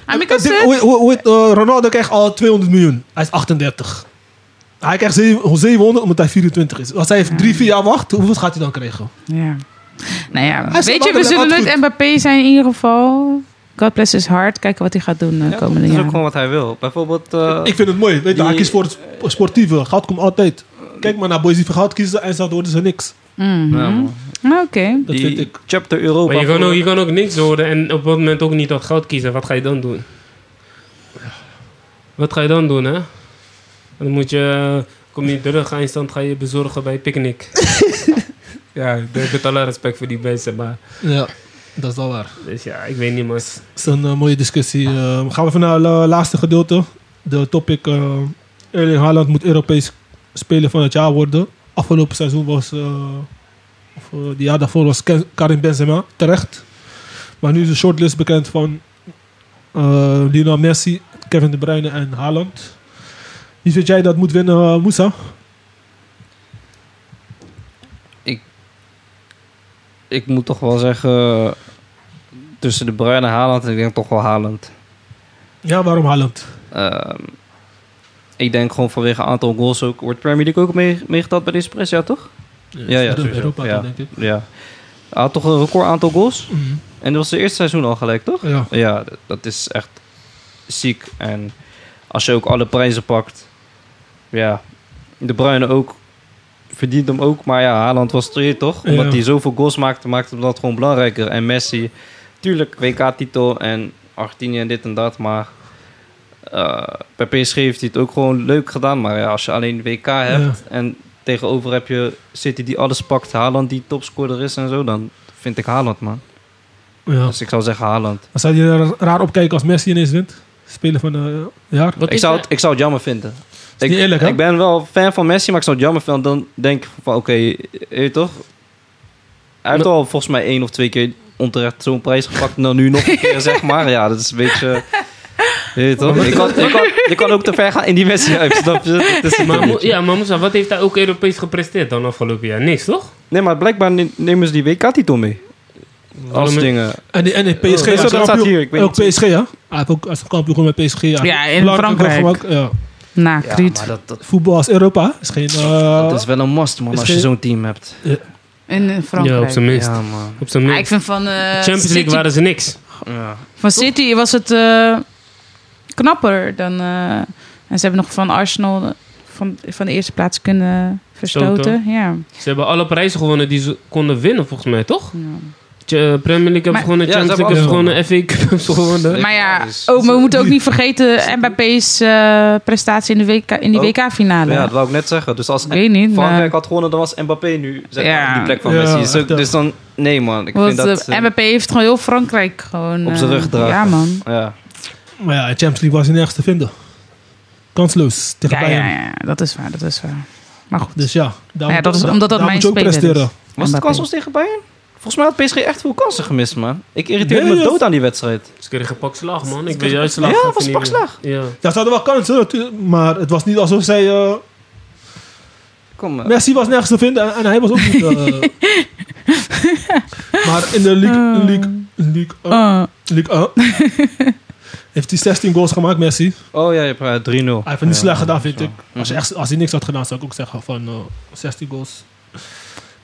Speaker 4: Aan
Speaker 3: Dat ding- Eh, hoe- hoe- hoe- eh, Ronaldo krijgt al 200 miljoen. Hij is 38. Hij krijgt zeven- 700 omdat hij 24 is. Als hij 3, 4 jaar wacht, hoeveel gaat hij dan krijgen?
Speaker 4: Ja. Nou ja,
Speaker 3: Hij is
Speaker 4: weet je, we
Speaker 3: makkelijk,
Speaker 4: zullen
Speaker 3: altijd
Speaker 4: nooit Mbappé zijn in ieder geval. God bless his heart. Kijken wat hij gaat doen de
Speaker 2: Ja,
Speaker 4: komende
Speaker 2: Dat is ook
Speaker 4: jaar.
Speaker 2: gewoon wat hij wil. Bijvoorbeeld... eh,
Speaker 3: Ik vind het mooi. Weet je, hij
Speaker 2: die-
Speaker 3: kiest voor het sp- sportieve. Goud komt altijd. Kijk maar naar boys die voor goud kiezen en zo worden ze niks.
Speaker 4: Mhm.
Speaker 2: ja, man.
Speaker 4: Oké.
Speaker 3: Mm-hmm. Dat
Speaker 2: Die
Speaker 3: vind ik.
Speaker 2: Chapter Europa.
Speaker 1: Maar je kan,
Speaker 2: voor-
Speaker 1: ook, je kan ook niks horen en op dat moment ook niet dat goud kiezen. Wat ga je dan doen? Wat ga je dan doen, hè? Dan moet je... eh, Kom je terug, eindstand ga je bezorgen bij Picnic. ja, ik heb het alle respect voor die mensen, maar...
Speaker 3: Ja, dat is wel waar.
Speaker 1: Dus ja, ik weet niet, man.
Speaker 3: Dat is een eh, mooie discussie. Eh, gaan we even naar het eh, laatste gedeelte. De topic eh Erling Haaland moet Europees speler van het jaar worden. Afgelopen seizoen was, eh of eh, die jaar daarvoor was Ken- Karim Benzema terecht. Maar nu is de shortlist bekend van eh Lionel Messi, Kevin De Bruyne en Haaland. Wie vind jij dat moet winnen, eh, Moussa?
Speaker 2: ik moet toch wel zeggen, tussen de Bruin en Haaland, ik denk toch wel Haaland.
Speaker 3: Ja, waarom Haaland?
Speaker 2: Ehm, ik denk gewoon vanwege een aantal goals ook. Wordt Premier League ook mee- meegeteld bij deze prijs, ja toch? ja,
Speaker 3: Europa-
Speaker 2: sowieso.
Speaker 3: Europa,
Speaker 2: Ja.
Speaker 3: denk ik.
Speaker 2: Ja. Hij had toch een record aantal goals.
Speaker 3: Mhm.
Speaker 2: En dat was zijn eerste seizoen al gelijk, toch?
Speaker 3: Ja.
Speaker 2: Ja, d- dat is echt ziek. En als je ook alle prijzen pakt, ja, De Bruyne ook verdient hem ook. Maar ja, Haaland was er hier toch? Omdat
Speaker 3: Ja.
Speaker 2: hij zoveel goals maakte, maakte hem dat gewoon belangrijker. En Messi, tuurlijk WK-titel en Argentinië en dit en dat, maar eh, bij PSG heeft hij het ook gewoon leuk gedaan. Maar ja, als je alleen WK hebt en tegenover heb je City die alles pakt, Haaland die topscorer is en zo, dan vind ik Haaland, man.
Speaker 3: ja.
Speaker 2: Dus ik zou zeggen Haaland.
Speaker 3: Maar Zou je er raar op kijken als Messi ineens wint? Spelen van eh, het jaar?
Speaker 1: Wat
Speaker 2: Ik
Speaker 1: is
Speaker 2: zou,
Speaker 1: er-
Speaker 2: het, ik zou het jammer vinden. ik,
Speaker 3: niet eerlijk, hè?
Speaker 2: ik ben wel fan van Messi, maar ik zou het jammer vinden. Dan denk ik van, oké, je weet toch? Hij heeft
Speaker 1: Maar-
Speaker 2: al volgens mij één of twee keer onterecht zo'n prijs gepakt. Nou, nu nog een keer, zeg maar. Ja, dat is een beetje... Je weet toch? Je kan, je, kan, je kan ook te ver gaan in die wedstrijd, snap je? Dat is het
Speaker 1: Maar,
Speaker 2: een
Speaker 1: mo-
Speaker 2: beetje.
Speaker 1: ja, maar Moussa, wat heeft hij ook Europees gepresteerd dan afgelopen jaar? Niks, toch?
Speaker 2: Nee, maar blijkbaar ne- nemen ze die WK-titel mee. Als
Speaker 1: Waarom-
Speaker 2: dingen.
Speaker 3: En, die- en die PSG
Speaker 2: dat
Speaker 3: als
Speaker 2: staat
Speaker 3: kampioen-
Speaker 2: hier, ik weet
Speaker 3: ook
Speaker 2: niet.
Speaker 3: PSG, ja? Hij heeft ook als kampioen gewonnen met PSG. Ja,
Speaker 4: Ja, in
Speaker 3: Belangrijke
Speaker 4: Frankrijk.
Speaker 3: goal gemaakt, ja.
Speaker 4: Nou,
Speaker 2: Ja,
Speaker 4: Kruid.
Speaker 2: maar dat, dat,
Speaker 3: Voetbal als Europa is geen... eh,
Speaker 2: dat is wel een must, man,
Speaker 3: Is
Speaker 2: als je
Speaker 3: geen-
Speaker 2: zo'n team hebt.
Speaker 4: In eh, Frankrijk.
Speaker 1: Ja, op zijn minst.
Speaker 2: Ja, man.
Speaker 1: Op zijn
Speaker 4: Maar
Speaker 1: minst.
Speaker 4: ik vind van, eh,
Speaker 1: Champions League
Speaker 4: City,
Speaker 1: waren ze niks.
Speaker 2: Ja.
Speaker 4: van City was het eh, knapper dan... eh, en ze hebben nog van Arsenal eh, van, van de eerste plaats kunnen verstoten. Ja.
Speaker 1: Ze hebben alle prijzen gewonnen die ze konden winnen, volgens mij, toch?
Speaker 4: ja.
Speaker 1: Ch- eh, Premier League hebben
Speaker 4: Maar-
Speaker 1: gewonnen,
Speaker 2: Ja,
Speaker 1: Champions
Speaker 2: ze
Speaker 1: League hebben
Speaker 2: hebben
Speaker 1: gewonnen, FA Cup hebben ze gewonnen.
Speaker 4: Maar ja,
Speaker 2: Dus-
Speaker 4: oh, maar we moeten ook niet vergeten Mbappe's eh, prestatie in, de WK, in die
Speaker 2: Oh.
Speaker 4: WK-finale.
Speaker 2: ja, dat wou ik net zeggen. Dus als
Speaker 4: ik weet niet, maar...
Speaker 2: Frankrijk had gewonnen, dan was Mbappé nu zeg maar,
Speaker 4: Ehm, Ja.
Speaker 2: op die plek van
Speaker 3: Ja,
Speaker 2: Messi. Dus,
Speaker 3: echt, ja.
Speaker 2: dus dan, nee man, ik
Speaker 4: Want
Speaker 2: vind dat...
Speaker 4: eh,
Speaker 2: eh,
Speaker 4: Mbappé heeft gewoon heel Frankrijk gewoon...
Speaker 2: op zijn
Speaker 4: eh,
Speaker 2: rug dragen.
Speaker 4: Ja, man.
Speaker 2: ja.
Speaker 3: Maar ja, Champions League was hij nergens te vinden. Kansloos tegen
Speaker 4: Ja,
Speaker 3: Bayern.
Speaker 4: ja, ja, dat is waar, dat is waar. Maar goed.
Speaker 3: Dus ja, daar,
Speaker 4: Ja,
Speaker 3: moet-
Speaker 4: dat is omdat dat
Speaker 3: daar
Speaker 4: mijn
Speaker 3: moet je ook
Speaker 4: speler is.
Speaker 3: presteren.
Speaker 2: Was het
Speaker 4: Mbappé.
Speaker 2: kansloos tegen Bayern? Volgens mij had PSG echt veel kansen gemist, man. Ik irriteerde
Speaker 3: Nee,
Speaker 2: me
Speaker 3: dat-
Speaker 2: dood aan die wedstrijd.
Speaker 1: Ze kregen pak slag, man. Ik ben juist slag.
Speaker 2: Ja, was pak slag.
Speaker 1: Ja.
Speaker 3: Ja, ze hadden wel kansen, natuurlijk, maar het was niet alsof zij... eh,
Speaker 2: Kom, eh,
Speaker 3: Messi was nergens te vinden en, en hij was ook niet... eh. maar in de League... League, league, eh,
Speaker 4: Eh,
Speaker 3: League A heeft hij 16 goals gemaakt, Messi. Hij
Speaker 2: Oh ja, je hebt eh, 3-0.
Speaker 3: heeft het niet
Speaker 2: Ja,
Speaker 3: slecht gedaan, vind
Speaker 2: zo.
Speaker 3: ik. Als, je echt, als hij niks had gedaan, zou ik ook zeggen van eh, 16 goals.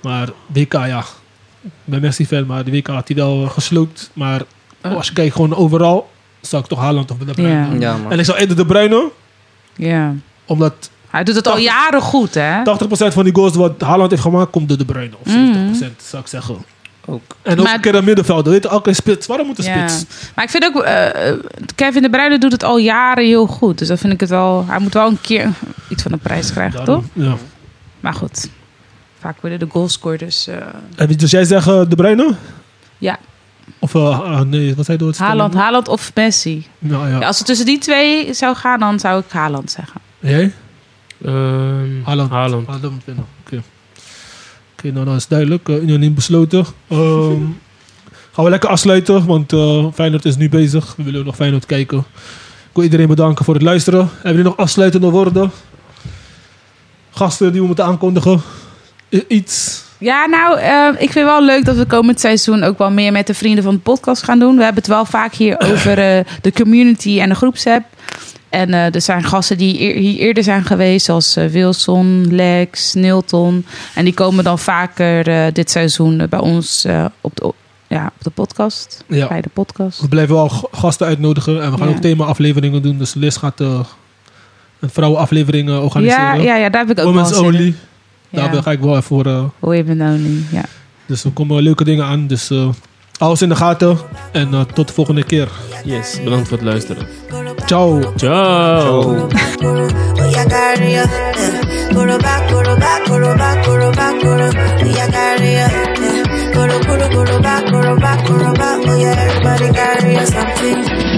Speaker 3: Maar WK, ja. Ik ben Messi-fan, maar de WK had hij wel eh, gesloopt. Maar als je kijkt gewoon overal, zou ik toch Haaland of De Bruyne.
Speaker 4: Ah. Ja.
Speaker 2: Ja, man.
Speaker 3: En ik zou eerder De Bruyne,
Speaker 4: ja.
Speaker 3: omdat 80%
Speaker 4: Hij doet het al jaren goed, hè?
Speaker 3: van die goals wat Haaland heeft gemaakt, komt door De Bruyne. Of 70%
Speaker 4: Ah. Mm.
Speaker 3: zou ik zeggen.
Speaker 2: Ook.
Speaker 3: En ook
Speaker 4: Maar-
Speaker 3: een keer een middenvelder. Weet je, elke spits. Waarom moet een
Speaker 4: Ja.
Speaker 3: spits?
Speaker 4: Maar ik vind ook, eh, eh, Kevin de Bruyne doet het al jaren heel goed. Dus dat vind ik het wel. Hij moet wel een keer iets van de prijs krijgen,
Speaker 3: Daarom,
Speaker 4: toch?
Speaker 3: ja.
Speaker 4: Maar goed, vaak worden de goalscorers. dus
Speaker 3: En wie- Dus jij zegt eh, De Bruyne?
Speaker 4: Ja.
Speaker 3: Of eh, ah, nee, wat zei je?
Speaker 4: Haaland, Haaland of Messi.
Speaker 3: Nou ja.
Speaker 4: Ja, als het tussen die twee zou gaan, dan zou ik Haaland zeggen.
Speaker 3: Jij?
Speaker 1: Ehm,
Speaker 3: Haaland.
Speaker 1: Haaland.
Speaker 3: Haaland moet winnen. nou? Oké. Oké, nou dat is duidelijk. Eh, unaniem besloten. Ehm, gaan we lekker afsluiten, want eh Feyenoord is nu bezig. We willen nog Feyenoord kijken. Ik wil iedereen bedanken voor het luisteren. Hebben jullie nog afsluitende woorden? Gasten die we moeten aankondigen? I- iets?
Speaker 4: Ja, nou, eh, ik vind wel leuk dat we komend seizoen ook wel meer met de vrienden van de podcast gaan doen. We hebben het wel vaak hier over eh, de community en de groepsapp. En eh, er zijn gasten die eer- hier eerder zijn geweest, zoals eh, Wilson, Lex, Nilton. En die komen dan vaker eh, dit seizoen bij ons eh, op, de, ja, op de podcast.
Speaker 3: Ja.
Speaker 4: Bij de podcast.
Speaker 3: We blijven wel g- gasten uitnodigen en we gaan
Speaker 4: Ja.
Speaker 3: ook thema-afleveringen doen. Dus Liz gaat eh, een vrouwenaflevering eh,
Speaker 4: Ja,
Speaker 3: organiseren.
Speaker 4: ja, ja, daar heb ik ook
Speaker 3: Women's
Speaker 4: wel zin in.
Speaker 3: Only.
Speaker 4: Ja.
Speaker 3: Daar ga ik wel even voor. eh,
Speaker 4: Women Only, ja.
Speaker 3: dus er komen leuke dingen aan. Dus eh, hou alles in de gaten en eh, tot de volgende keer.
Speaker 1: Yes, bedankt voor het luisteren.
Speaker 3: Ciao. Oh.
Speaker 1: Ciao.
Speaker 5: voy a carrera, coro va, coro va, coro va, coro va, coro, voy a carrera, Oh, coro, coro, coro va, coro va, coro va, voy a everybody carry something.